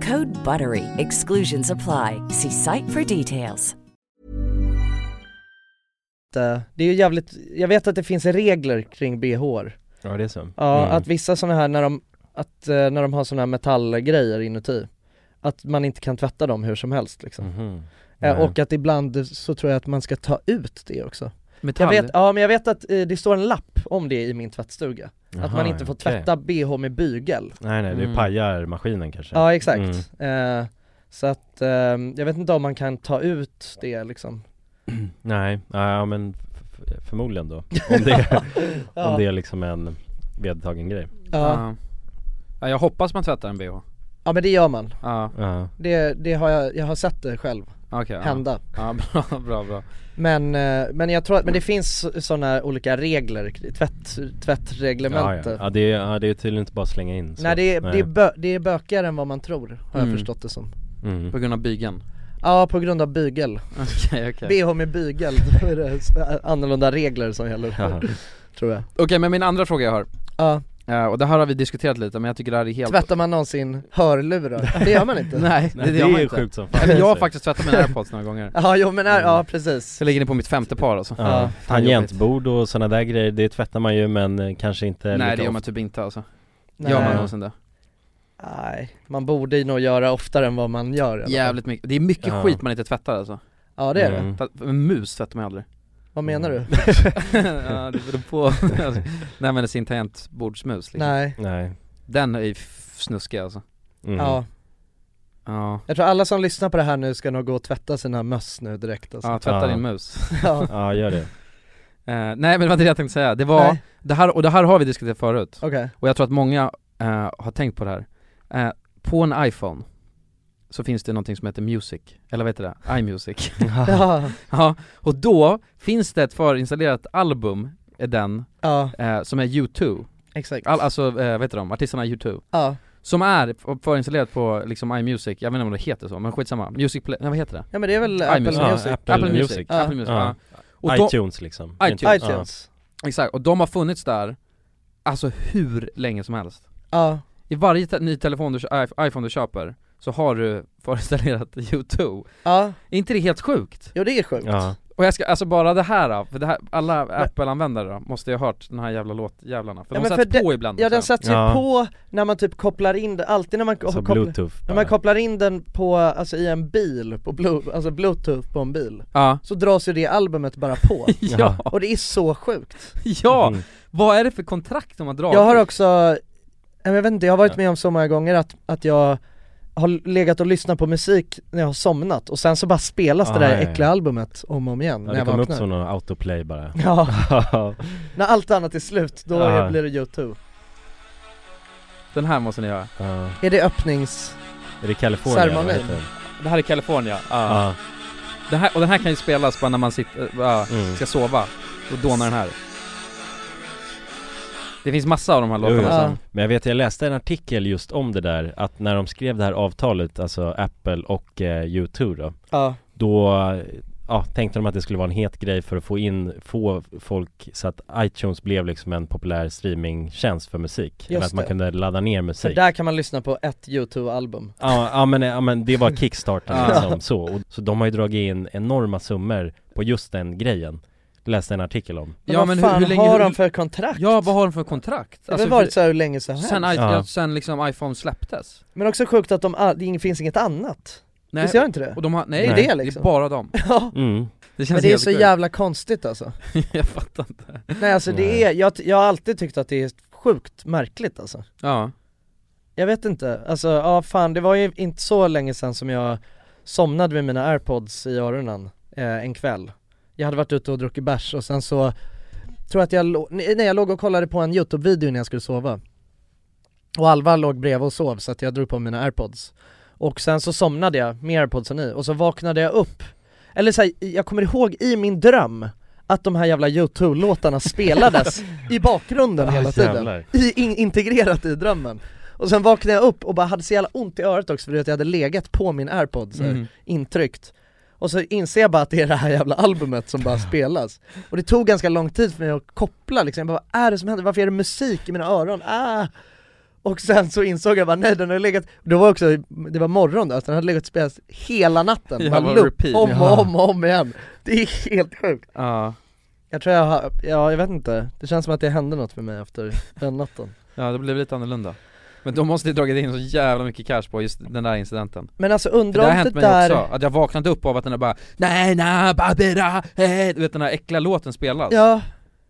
M: Code BUTTERY. Exclusions apply. See site for details.
B: eh, det är ju jävligt, jag vet att det finns regler kring bh
A: Ja det är så
B: Ja,
A: Mm.
B: att vissa sådana här när de, att, eh, när de har sådana här metallgrejer inuti Att man inte kan tvätta dem hur som helst liksom
A: Mhm.
B: Eh,
A: Nej.
B: Och att ibland så tror jag att man ska ta ut det också
C: Metall?
B: Jag vet, ja men jag vet att eh, det står en lapp om det i min tvättstuga Att
A: Jaha,
B: man inte får
A: okej.
B: tvätta bh med bygel
A: Nej nej, det
B: Mm.
A: pajar maskinen kanske
B: Ja exakt,
A: Mm.
B: eh, så att eh, jag vet inte om man kan ta ut det liksom
A: Mm. Nej, ja men f- f- förmodligen då Om det,
B: Ja.
A: om det är liksom en vedertagen grej
B: Ja.
C: ja Jag hoppas man tvättar en bh
B: Ja men det gör man,
C: Ja
A: Ja
B: det, det har jag, jag har sett det själv
C: Okej, ja.
B: hända
C: Ja bra, bra, bra
B: Men, eh, men jag tror att, men det finns sådana olika regler, tvätt,
A: Ja,
B: tvättreglementet
A: ja. ja, det, är, ja det är tydligen inte bara slänga in så.
B: Nej, det är, Det, är bö, det är bökigare än vad man tror, har
A: Mm.
B: jag förstått det som
A: Mm.
C: På grund av bygeln
B: Ja, på grund av bygel
C: Okej, okej.
B: BH med bygel, då är det s- annorlunda regler som gäller Tror jag
C: Okej men min andra fråga jag har
B: Ja
C: Eh, Och det här har vi diskuterat lite men jag tycker det här är helt
B: Tvättar man någonsin hörlurar? Det gör man inte
C: Nej, det, gör man inte. Eller jag har faktiskt tvättat mina airpods några gånger
B: Ja, jo men här, ja precis
C: Jag ligger ni på mitt femte par alltså
A: Ja. Tangentbord och sådana där grejer, det tvättar man ju men eh, kanske inte
C: Nej
A: lika
C: det gör man
A: ofta.
C: typ inte alltså
B: Nej.
C: Gör man någonsin det?
B: Nej, man borde ju nog göra oftare än vad man gör i alla fall.
C: Jävligt mycket, det är mycket
B: Ja.
C: skit man inte tvättar alltså
B: Ja, det är det.
A: Mm.
C: Ta- En mus tvättar man aldrig
B: Vad menar
C: Mm.
B: du?
C: ja, det beror på, Alltså, nej men sin tangentbordsmus liksom.
B: Nej.
A: Nej
C: Den är ju f- snuskig alltså
A: Mm.
B: Ja.
C: Ja
B: Jag tror alla som lyssnar på det här nu ska nog gå och tvätta sina möss nu direkt alltså.
C: Ja, tvätta din mus
B: Ja.
A: gör det
C: Eh, nej men det var inte det jag tänkte säga, det var,
B: Nej.
C: det här, och det här har vi diskuterat förut
B: Okej.
C: Och jag tror att många eh, har tänkt på det här Eh, På en iPhone så finns det någonting som heter Music, eller vad heter det? iMusic
B: Ja.
C: ja, och då finns det ett förinstallerat album, är den,
B: Ja.
C: eh, som är U2
B: Exakt
C: All, Alltså, eh, vad heter de? Artisterna U2
B: Ja.
C: Som är f- förinstallerat på liksom iMusic, jag vet inte om det heter så, men skitsamma, Music Play, nej vad heter det?
B: Ja, men det är väl Apple
C: iMusic.
B: Music. Ah.
C: Apple, Apple Music,
B: Ja.
C: Apple Music,
A: Ja.
C: ja. de-
A: iTunes liksom.
C: iTunes,
B: iTunes.
C: Ja. Exakt, och de har funnits där, alltså hur länge som helst
B: Ja.
C: I varje te- ny telefon du, kö- i- iPhone du köper, så har du förinstallerat U2
B: Ja.
C: Är inte det helt sjukt?
B: Jo det är sjukt
A: Ja.
C: Och jag ska, alltså bara det här då, för det här, alla Apple-användare då, måste ju ha hört den här jävla låtjävlarna, för de
B: men
C: sätts
B: för
C: på
B: det-
C: ibland
B: Ja
C: också.
B: den sätts ju på när man typ kopplar in den, alltid när man, ko-
A: Så
B: kopplar,
A: Alltså, Bluetooth
B: när man kopplar in den på, alltså i en bil, på blu, alltså bluetooth på en bil
C: Ja.
B: Så dras ju det albumet bara på,
C: Ja.
B: och det är så sjukt
C: Ja! Vad är det för kontrakt de Mhm. har dragit?
B: Jag har också, nej, men jag vet inte, jag har varit med om så många gånger att, att jag har legat och lyssnat på musik när jag har somnat och sen så bara spelas det
A: Ah,
B: där
A: ja, ja.
B: äckliga albumet om och om igen
A: Ja,
B: när
A: det
B: jag
A: kom upp
B: vaknar
A: som någon autoplay bara
B: Ja. När allt annat är slut, då
A: Ja.
C: Ah.
B: är, blir det YouTube
C: Den här måste ni göra
A: Ja.
B: Är det öppnings...
A: Är det California? eller vad
B: Ceremoni.
A: heter det?
C: Det här är California, ja.
A: Ja.
C: Den här, och den här kan ju spelas bara när man sitter, ja,
A: Mm.
C: ska sova, och dånar den här Det finns massa av de här
A: Jo, jo.
C: låtarna som
A: Men jag vet, jag läste en artikel just om det där Att när de skrev det här avtalet, alltså Apple och eh, U2 då
B: Ja.
A: Då, eh, ja, tänkte de att det skulle vara en het grej för att få in, få folk Så att iTunes blev liksom en populär streamingtjänst för musik Eller
B: Just
A: att man
B: det.
A: kunde ladda ner
B: För
A: musik
B: där kan man lyssna på ett YouTube-album
A: Ja, ja, men, ja men det var kickstarten
B: Ja.
A: liksom så, och, så de har ju dragit in enorma summor på just den grejen Läste en artikel om
B: Men vad fan har de för kontrakt?
C: Ja, vad har de för kontrakt? Alltså,
B: Det har väl varit så här hur länge som helst.
C: sen, i-
A: Ja.
C: ja. sen liksom iPhone släpptes
B: Men också sjukt att de, all- det ing- finns inget annat Visst gör det inte det?
C: Och de har, nej,
B: Det är
C: nej,
B: det
C: det
B: liksom.
C: är bara dem
B: Ja.
A: Mm.
C: Det känns
B: Men det är
C: helt
B: så
C: sjukt.
B: jävla konstigt alltså
C: Jag fattar inte
B: Nej alltså det är, jag, jag har alltid tyckt att det är sjukt märkligt alltså
C: Ja
B: Jag vet inte, alltså ja fan det var ju inte så länge sedan som jag somnade med mina airpods i öronen eh, en kväll Jag hade varit ute och druckit bärs och sen så tror jag att jag lå- nej nej, jag låg och kollade på en youtube-video när jag skulle sova Och Alva låg bredvid och sov så att jag drog på mina airpods Och sen så somnade jag med airpodsen i och så vaknade jag upp Eller så här, jag kommer ihåg i min dröm att de här jävla U2-låtarna spelades i bakgrunden
A: Ah,
B: hela tiden,
A: jävlar.
B: I, in, integrerat i drömmen och sen vaknade jag upp och bara hade så jävla ont i örat också för att jag hade legat på min airpod så här,
N: Mm.
B: intryckt Och så inser jag bara att det är det här jävla albumet som bara spelas Och det tog ganska lång tid för mig att koppla liksom, jag bara, vad är det som händer? Varför är det musik i mina öron? Ah! Och sen så insåg jag bara nej den har legat, det var också, det var morgon då, så den hade legat och spelats hela natten,
E: Ja,
B: bara
E: bara
B: loop,
E: repeat.
B: om
E: Ja.
B: och om och om igen Det är helt sjukt
C: Ja
B: Jag tror jag har, ja jag vet inte, det känns som att det hände något med mig efter den natten
C: Ja det blev lite annorlunda Men de måste ju dragit in så jävla mycket cash på just den där incidenten
B: Men alltså
C: Det där
B: undrar
C: har
B: om det
C: hänt
B: där,
C: mig också, att jag vaknade upp av att den där bara Nej na babera, eh", du vet den där äckliga låten spelas
B: ja,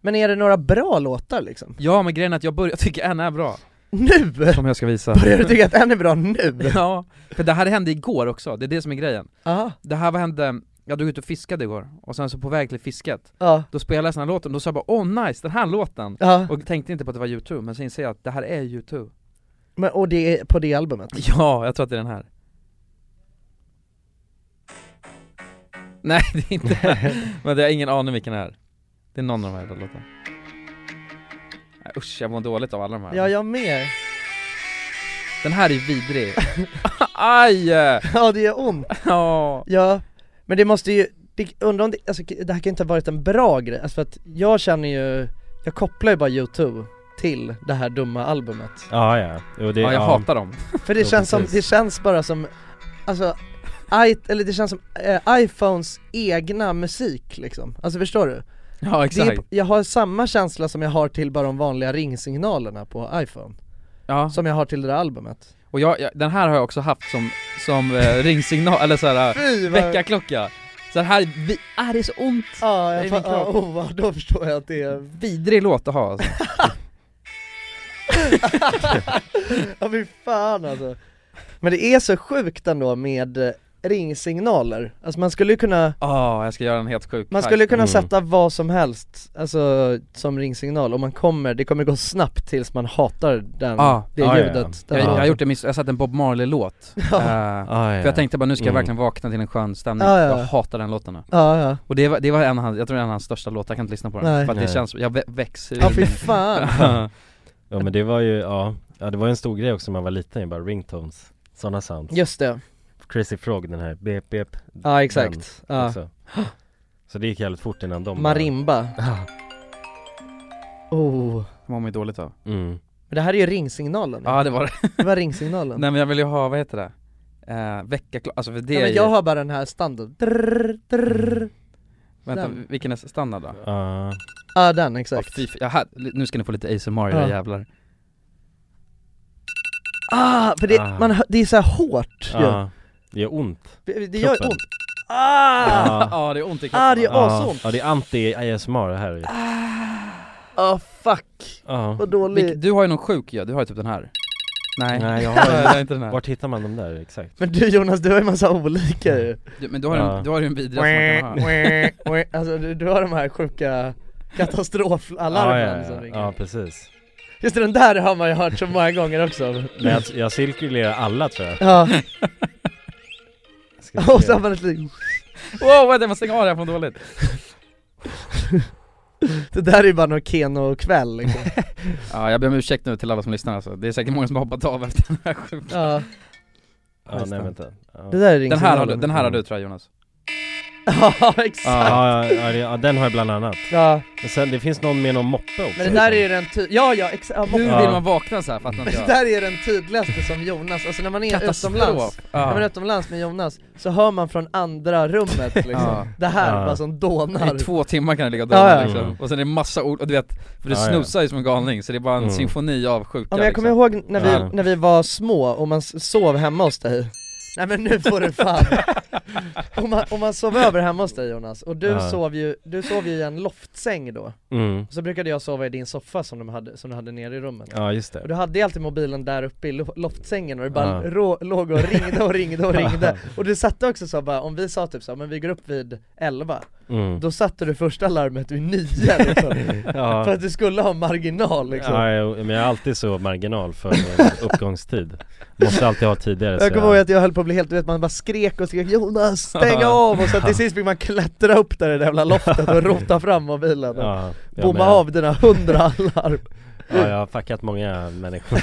B: men är det några bra låtar liksom?
C: Ja men grejen är att jag börjar tycka en är bra
B: Nu!
C: Som jag ska visa
B: Börjar du tycka att en är bra nu?
C: Ja, för det här hände igår också, det är det som är grejen
B: Aha.
C: Det här var hände, jag drog ut och fiskade igår, och sen så på väg till fisket
B: Ja.
C: Då spelade jag den här låten, då sa jag bara 'Åh nice, den här låten'
B: Ja.
C: Och tänkte inte på att det var YouTube, men sen inser jag att det här är YouTube
B: Men, och det är på det albumet?
C: Ja, jag tror att det är den här Nej det är inte den här. Men jag har ingen aning vilken det är Det är någon av de här jävla låtarna Nej, Usch, jag mår dåligt av alla de här
B: Ja, jag med!
C: Den här är vidrig Aj!
B: Ja det gör ont!
C: Ja.
B: ja, men det måste ju, det, undrar om det, alltså, det här kan inte ha varit en bra grej, alltså för att jag känner ju, jag kopplar ju bara YouTube till det här dumma albumet
A: Ja ja, jo, det,
C: Ja, jag hatar dem.
B: För det
A: Jo,
B: känns som,
A: precis.
B: det känns bara som, alltså, i, eller det känns som eh, iPhones egna musik liksom, alltså förstår du?
C: Ja, exakt.
B: Det är, jag har samma känsla som jag har till bara de vanliga ringsignalerna på iPhone
C: Ja.
B: Som jag har till det där albumet
C: Och jag, jag, den här har jag också haft som, som eh, ringsignal, eller såhär,
B: Fy, vad-
C: väckarklocka Så den här, vi, ah, det är så ont!
B: Ja,
C: Det är min
B: jag fa- ja,
C: kropp.
B: oh, då förstår jag att det är
C: vidrig låt att ha alltså.
B: Ja fy fan alltså Men det är så sjukt ändå med eh, ringsignaler, alltså man skulle ju kunna
C: Ja, jag ska göra en helt sjuk
B: Man skulle
C: hack.
B: kunna sätta vad som helst, alltså som ringsignal, och man kommer, det kommer gå snabbt tills man hatar den,
C: Ja.
B: det
C: Ah, Ja, ja, ja.
B: ljudet
C: Jag, jag har gjort det miss- jag satte en Bob Marley-låt
B: Ja.
C: Eh,
A: ja, ja.
C: För jag tänkte bara nu ska jag
A: Mm.
C: verkligen vakna till en skön stämning,
B: Ja, ja, ja.
C: jag hatar den låten nu
B: Ja, ja.
C: Och det var, det var en av hans, jag tror det är en av hans största låtar, jag kan inte lyssna på den
B: Nej.
C: för att det
A: Nej.
C: känns, jag vä- växer
B: Ja, fy fan.
C: Ja.
A: Ja men det var ju, ja, ja det var ju en stor grej också när man var liten ju, bara ringtones, sådana sounds
B: Just det,
A: Crazy Frog den här, bep bep
B: Ja, exakt.
A: den
B: Ja.
A: också. Så det gick jävligt fort innan de
B: marimba
A: Ja.
B: Oh,
C: Mår man ju dåligt av
A: Mm.
B: men det här är ju ringsignalen
C: Ja det var det
B: Det var ringsignalen
C: Nej men jag vill ju ha, vad heter det? Eh, Väckarklocka, alltså för det
B: ja,
C: är
B: men
C: ju-
B: jag har bara den här standard, drrrr, drrrr.
C: Vänta,
B: Den.
C: vilken är standard då?
A: Ja.
B: Ja den exakt
C: Fy, jag hade, nu ska ni få lite ASMR era
B: Ja.
C: jävlar
B: Ah, för det,
A: Ah.
B: Man, hö- det är så här hårt ju.
A: ja Det gör ont
B: Det, det gör
A: Kroppen.
B: ont Ah!
A: Ja.
C: det är ont i
B: Ah, det gör
A: Ja,
B: asont!
A: ja det är anti-ASMR det här ju.
B: Ah fuck,
A: Ja.
B: vad dålig
C: Vilk- Du har ju någon sjuk ja, du har ju typ den här Nej,
A: Nej jag
C: det
A: har
C: är inte den här
A: Vart hittar man de där exakt?
B: Men du Jonas, du har ju massa olika ju
C: du, Men du har,
A: Ja.
C: en, du har ju en vidrigaste man kan ha
B: Alltså du, du har de här sjuka katastrofalarmen
A: Ah, ja, ja,
B: som
A: ja.
B: ringer
A: ja precis
B: Just det, den där har man ju hört så många gånger också
A: Men jag, jag cirkulerar alla tror jag
B: Ja,
A: Ska vi
B: och
A: se.
B: så har man ett liv.
C: Wow, vänta jag måste stänga av det här från dåligt
B: Det där är ju bara någon Keno-kväll liksom.
C: Ja, jag ber om ursäkt nu till alla som lyssnar alltså. det är säkert många som har hoppat av efter den här sjuka
B: ja.
A: Ja nej vänta ja.
B: Det där är
C: Den här har du,
B: ringsignalen.
C: den här har du tror jag Jonas
B: Ja exakt!
A: Ja, ja, ja, det- ja den har jag bland annat
B: Ja.
A: Men sen det finns någon med någon moppe också
B: Men det där är ju den ty- ja ja exakt, ja,
C: Hur
B: moppen.
A: Ja.
C: vill man vakna så här fattar inte
B: Det
C: jag
B: där är den tydligaste som Jonas, alltså när man är
C: Katastrof.
B: utomlands,
C: Ja.
B: när man är utomlands med Jonas, så hör man från andra rummet liksom,
C: Ja.
B: det här
A: Ja.
B: bara som
C: I
B: dånar
C: två timmar kan det ligga och
B: Ja,
C: dala
B: ja.
C: liksom.
A: Mm.
C: och sen är det massa ord, och du vet, för du
A: Ja, ja.
C: snusar ju som en galning så det är bara en
A: Mm.
C: symfoni av sjuka
B: Ja men jag kommer
C: liksom.
B: ihåg när vi,
A: Ja.
B: när vi var små och man s- sov hemma hos dig Nej men nu får du fan! Om man, om man sov över hemma hos dig Jonas, och du
A: Ja.
B: sov ju, du sov ju i en loftsäng då
A: Mm.
B: Så brukade jag sova i din soffa som, de hade, som du hade nere i rummet
A: Ja just
B: Och
A: det
B: du hade ju alltid mobilen där uppe i lo- loftsängen och du bara
A: Ja.
B: rå, låg och ringde och ringde och ringde Och du satte också så bara, om vi sa typ så, men vi går upp vid 11
A: Mm.
B: Då satte du första larmet vid nio liksom.
A: Ja.
B: För att du skulle ha marginal liksom.
A: Ja, jag- men jag är alltid så marginal för uppgångstid Måste alltid ha tidigare så
B: Jag kommer ihåg att jag höll på att bli helt, du vet man bara skrek och skrek 'Jonas, stäng
A: Ja.
B: av!' och så till sist fick man klättra upp där i det jävla loftet och rota fram mobilen och
A: Ja, jag
B: bomma
A: med.
B: av dina hundra alarm
C: Mm.
A: Ja, jag har fuckat många människor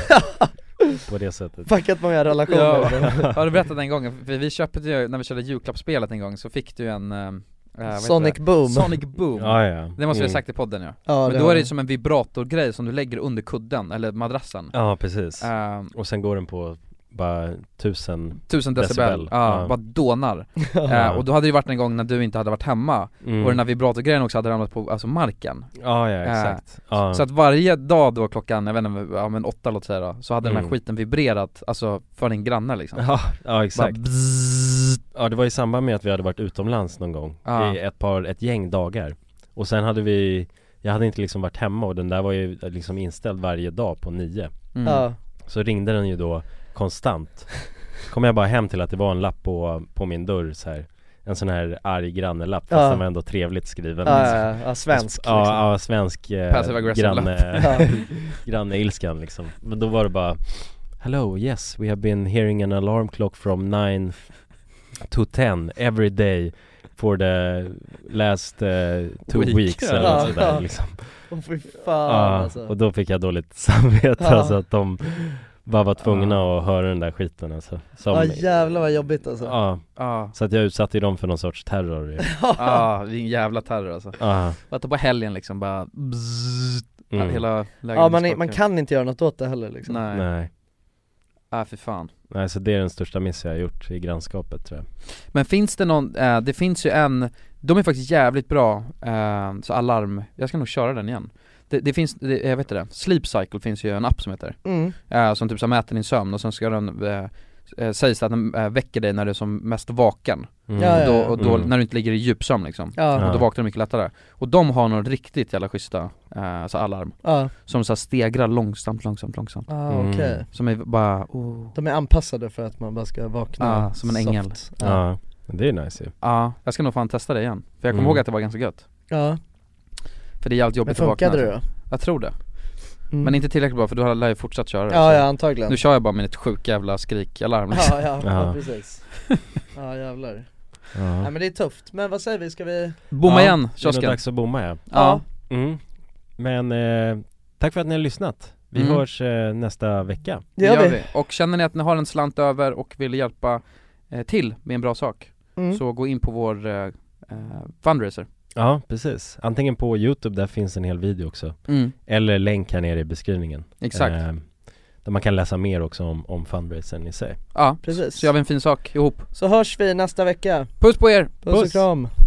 A: på det sättet
B: Fuckat många liksom.
C: Ja, har du berättat en gång? För vi köpte ju, när vi körde julklappsspelet en gång så fick du en eh, vad heter
B: Sonic
C: det?
B: Boom.
C: Sonic Boom!
A: Ja, ja.
C: Det måste vi
A: Mm.
C: ha sagt i podden ja,
A: Ja, det
C: Men då
A: har
C: är det
A: vi.
C: ju som en vibratorgrej som du lägger under kudden, eller madrassen
A: Ja precis,
C: Ehm,
A: och sen går den på bara tusen,
C: tusen decibel, Ja, bara dånar Eh, Och då hade det ju varit en gång när du inte hade varit hemma
A: Mm.
C: och den här vibratorgrejen också hade ramlat på alltså marken
A: Ja, ja, exakt.
C: Eh,
A: Ja.
C: Så att varje dag då klockan, jag vet inte, ja men åtta låt säga då, så hade den
A: Mm.
C: här skiten vibrerat, alltså för din granne liksom
A: Ja, ja exakt
C: Bara,
A: Ja det var i samband med att vi hade varit utomlands någon gång
C: Ja.
A: I ett par, ett gäng dagar Och sen hade vi Jag hade inte liksom varit hemma och den där var ju liksom inställd varje dag på nio
B: Mm. Ja.
A: Så ringde den ju då konstant Kom jag bara hem till att det var en lapp på, på min dörr så här En sån här arg grannelapp fast
B: Ja.
A: den var ändå trevligt skriven
B: Ja, ja, ja. Ja, svensk, liksom.
A: Ja, ja svensk
C: Passive
A: eh,
C: aggressive
A: granne,
C: lapp.
A: granneilskan liksom Men då var det bara Hello, yes, we have been hearing an alarm clock from 9 to 10 every day for the last eh, two
B: Week.
A: weeks eller
B: Ja.
A: något sådär
B: Ja.
A: liksom
B: Åh, fy fan,
A: Ja,
B: alltså.
A: och då fick jag dåligt samvete
B: Ja.
A: alltså att de bara var tvungna att höra den där skiten alltså Som-
B: Ja jävlar vad jobbigt alltså
A: Ja.
C: Ja.
A: Så att jag utsatte ju dem för någon sorts terror ju.
C: Ja, ah, det är en jävla terror alltså.
A: Ja.
C: Bara ta på helgen liksom bara bzzzt,
A: Mm.
C: hela lägenheten
B: Ja man, är- man kan inte göra något åt det heller liksom
C: Nej.
A: Nej,
C: Ah, för fan.
A: nej så det är den största miss jag har gjort i grannskapet tror jag
C: Men finns det någon, eh, det finns ju en, de är faktiskt jävligt bra, eh, så alarm, jag ska nog köra den igen Det, det finns, det, jag vet inte det, Sleep Cycle finns ju en app som heter,
B: Mm.
C: eh, som typ så här mäter din sömn och sen ska den eh, eh, Sägs det att den eh, väcker dig när du är som mest vaken
B: Mm. Ja, ja,
C: och
B: ja.
C: då, och då
B: Mm.
C: när du inte ligger i djupsömn liksom,
B: Ja.
C: och då
B: Ja.
C: vaknar du mycket lättare Och de har några riktigt jävla schyssta eh, så alarm
B: Ja.
C: Som så här stegrar långsamt, långsamt, långsamt
B: Ah, Mm. okej.
C: Som är bara, oh.
B: De är anpassade för att man bara ska vakna
C: Ja, som en
B: soft.
C: ängel.
B: Ja.
A: Ja, det är nice ju
C: Ja, jag ska nog fan testa det igen. För jag kommer
A: Mm.
C: ihåg att det var ganska gött.
B: Ja.
C: För det är jävligt jobbigt
B: Men
C: att vakna.
B: funkade det
C: alltså. Jag tror det.
B: Mm.
C: Men inte tillräckligt bra för då lär jag fortsatt köra det.
B: Ja,
C: så-
B: ja, antagligen.
C: Nu kör jag bara med ett sjukt jävla skrikalarm liksom.
B: Ja, ja, ja, precis Ja jävlar
A: Ja.
B: Nej men det är tufft, men vad säger vi, ska vi?
C: Bomma
A: Ja,
C: igen,
A: Det är
C: kiosken.
A: nog dags att bomma ja.
C: Ja.
A: Mm. Men eh, tack för att ni har lyssnat. Vi
C: Mm.
A: hörs eh, nästa vecka.
C: Det gör vi. Och känner ni att ni har en slant över och vill hjälpa eh, till med en bra sak,
A: Mm.
C: så gå in på vår eh, eh, fundraiser.
A: Ja, precis. Antingen på Youtube, där finns en hel video också.
C: Mm.
A: Eller länk här nere i beskrivningen.
C: Exakt.
A: Eh, där man kan läsa mer också om, om fundraisern i sig.
C: Ja,
B: Precis.
C: så gör vi en fin sak ihop.
B: Så hörs vi nästa vecka
C: Puss på er!
B: Puss och kram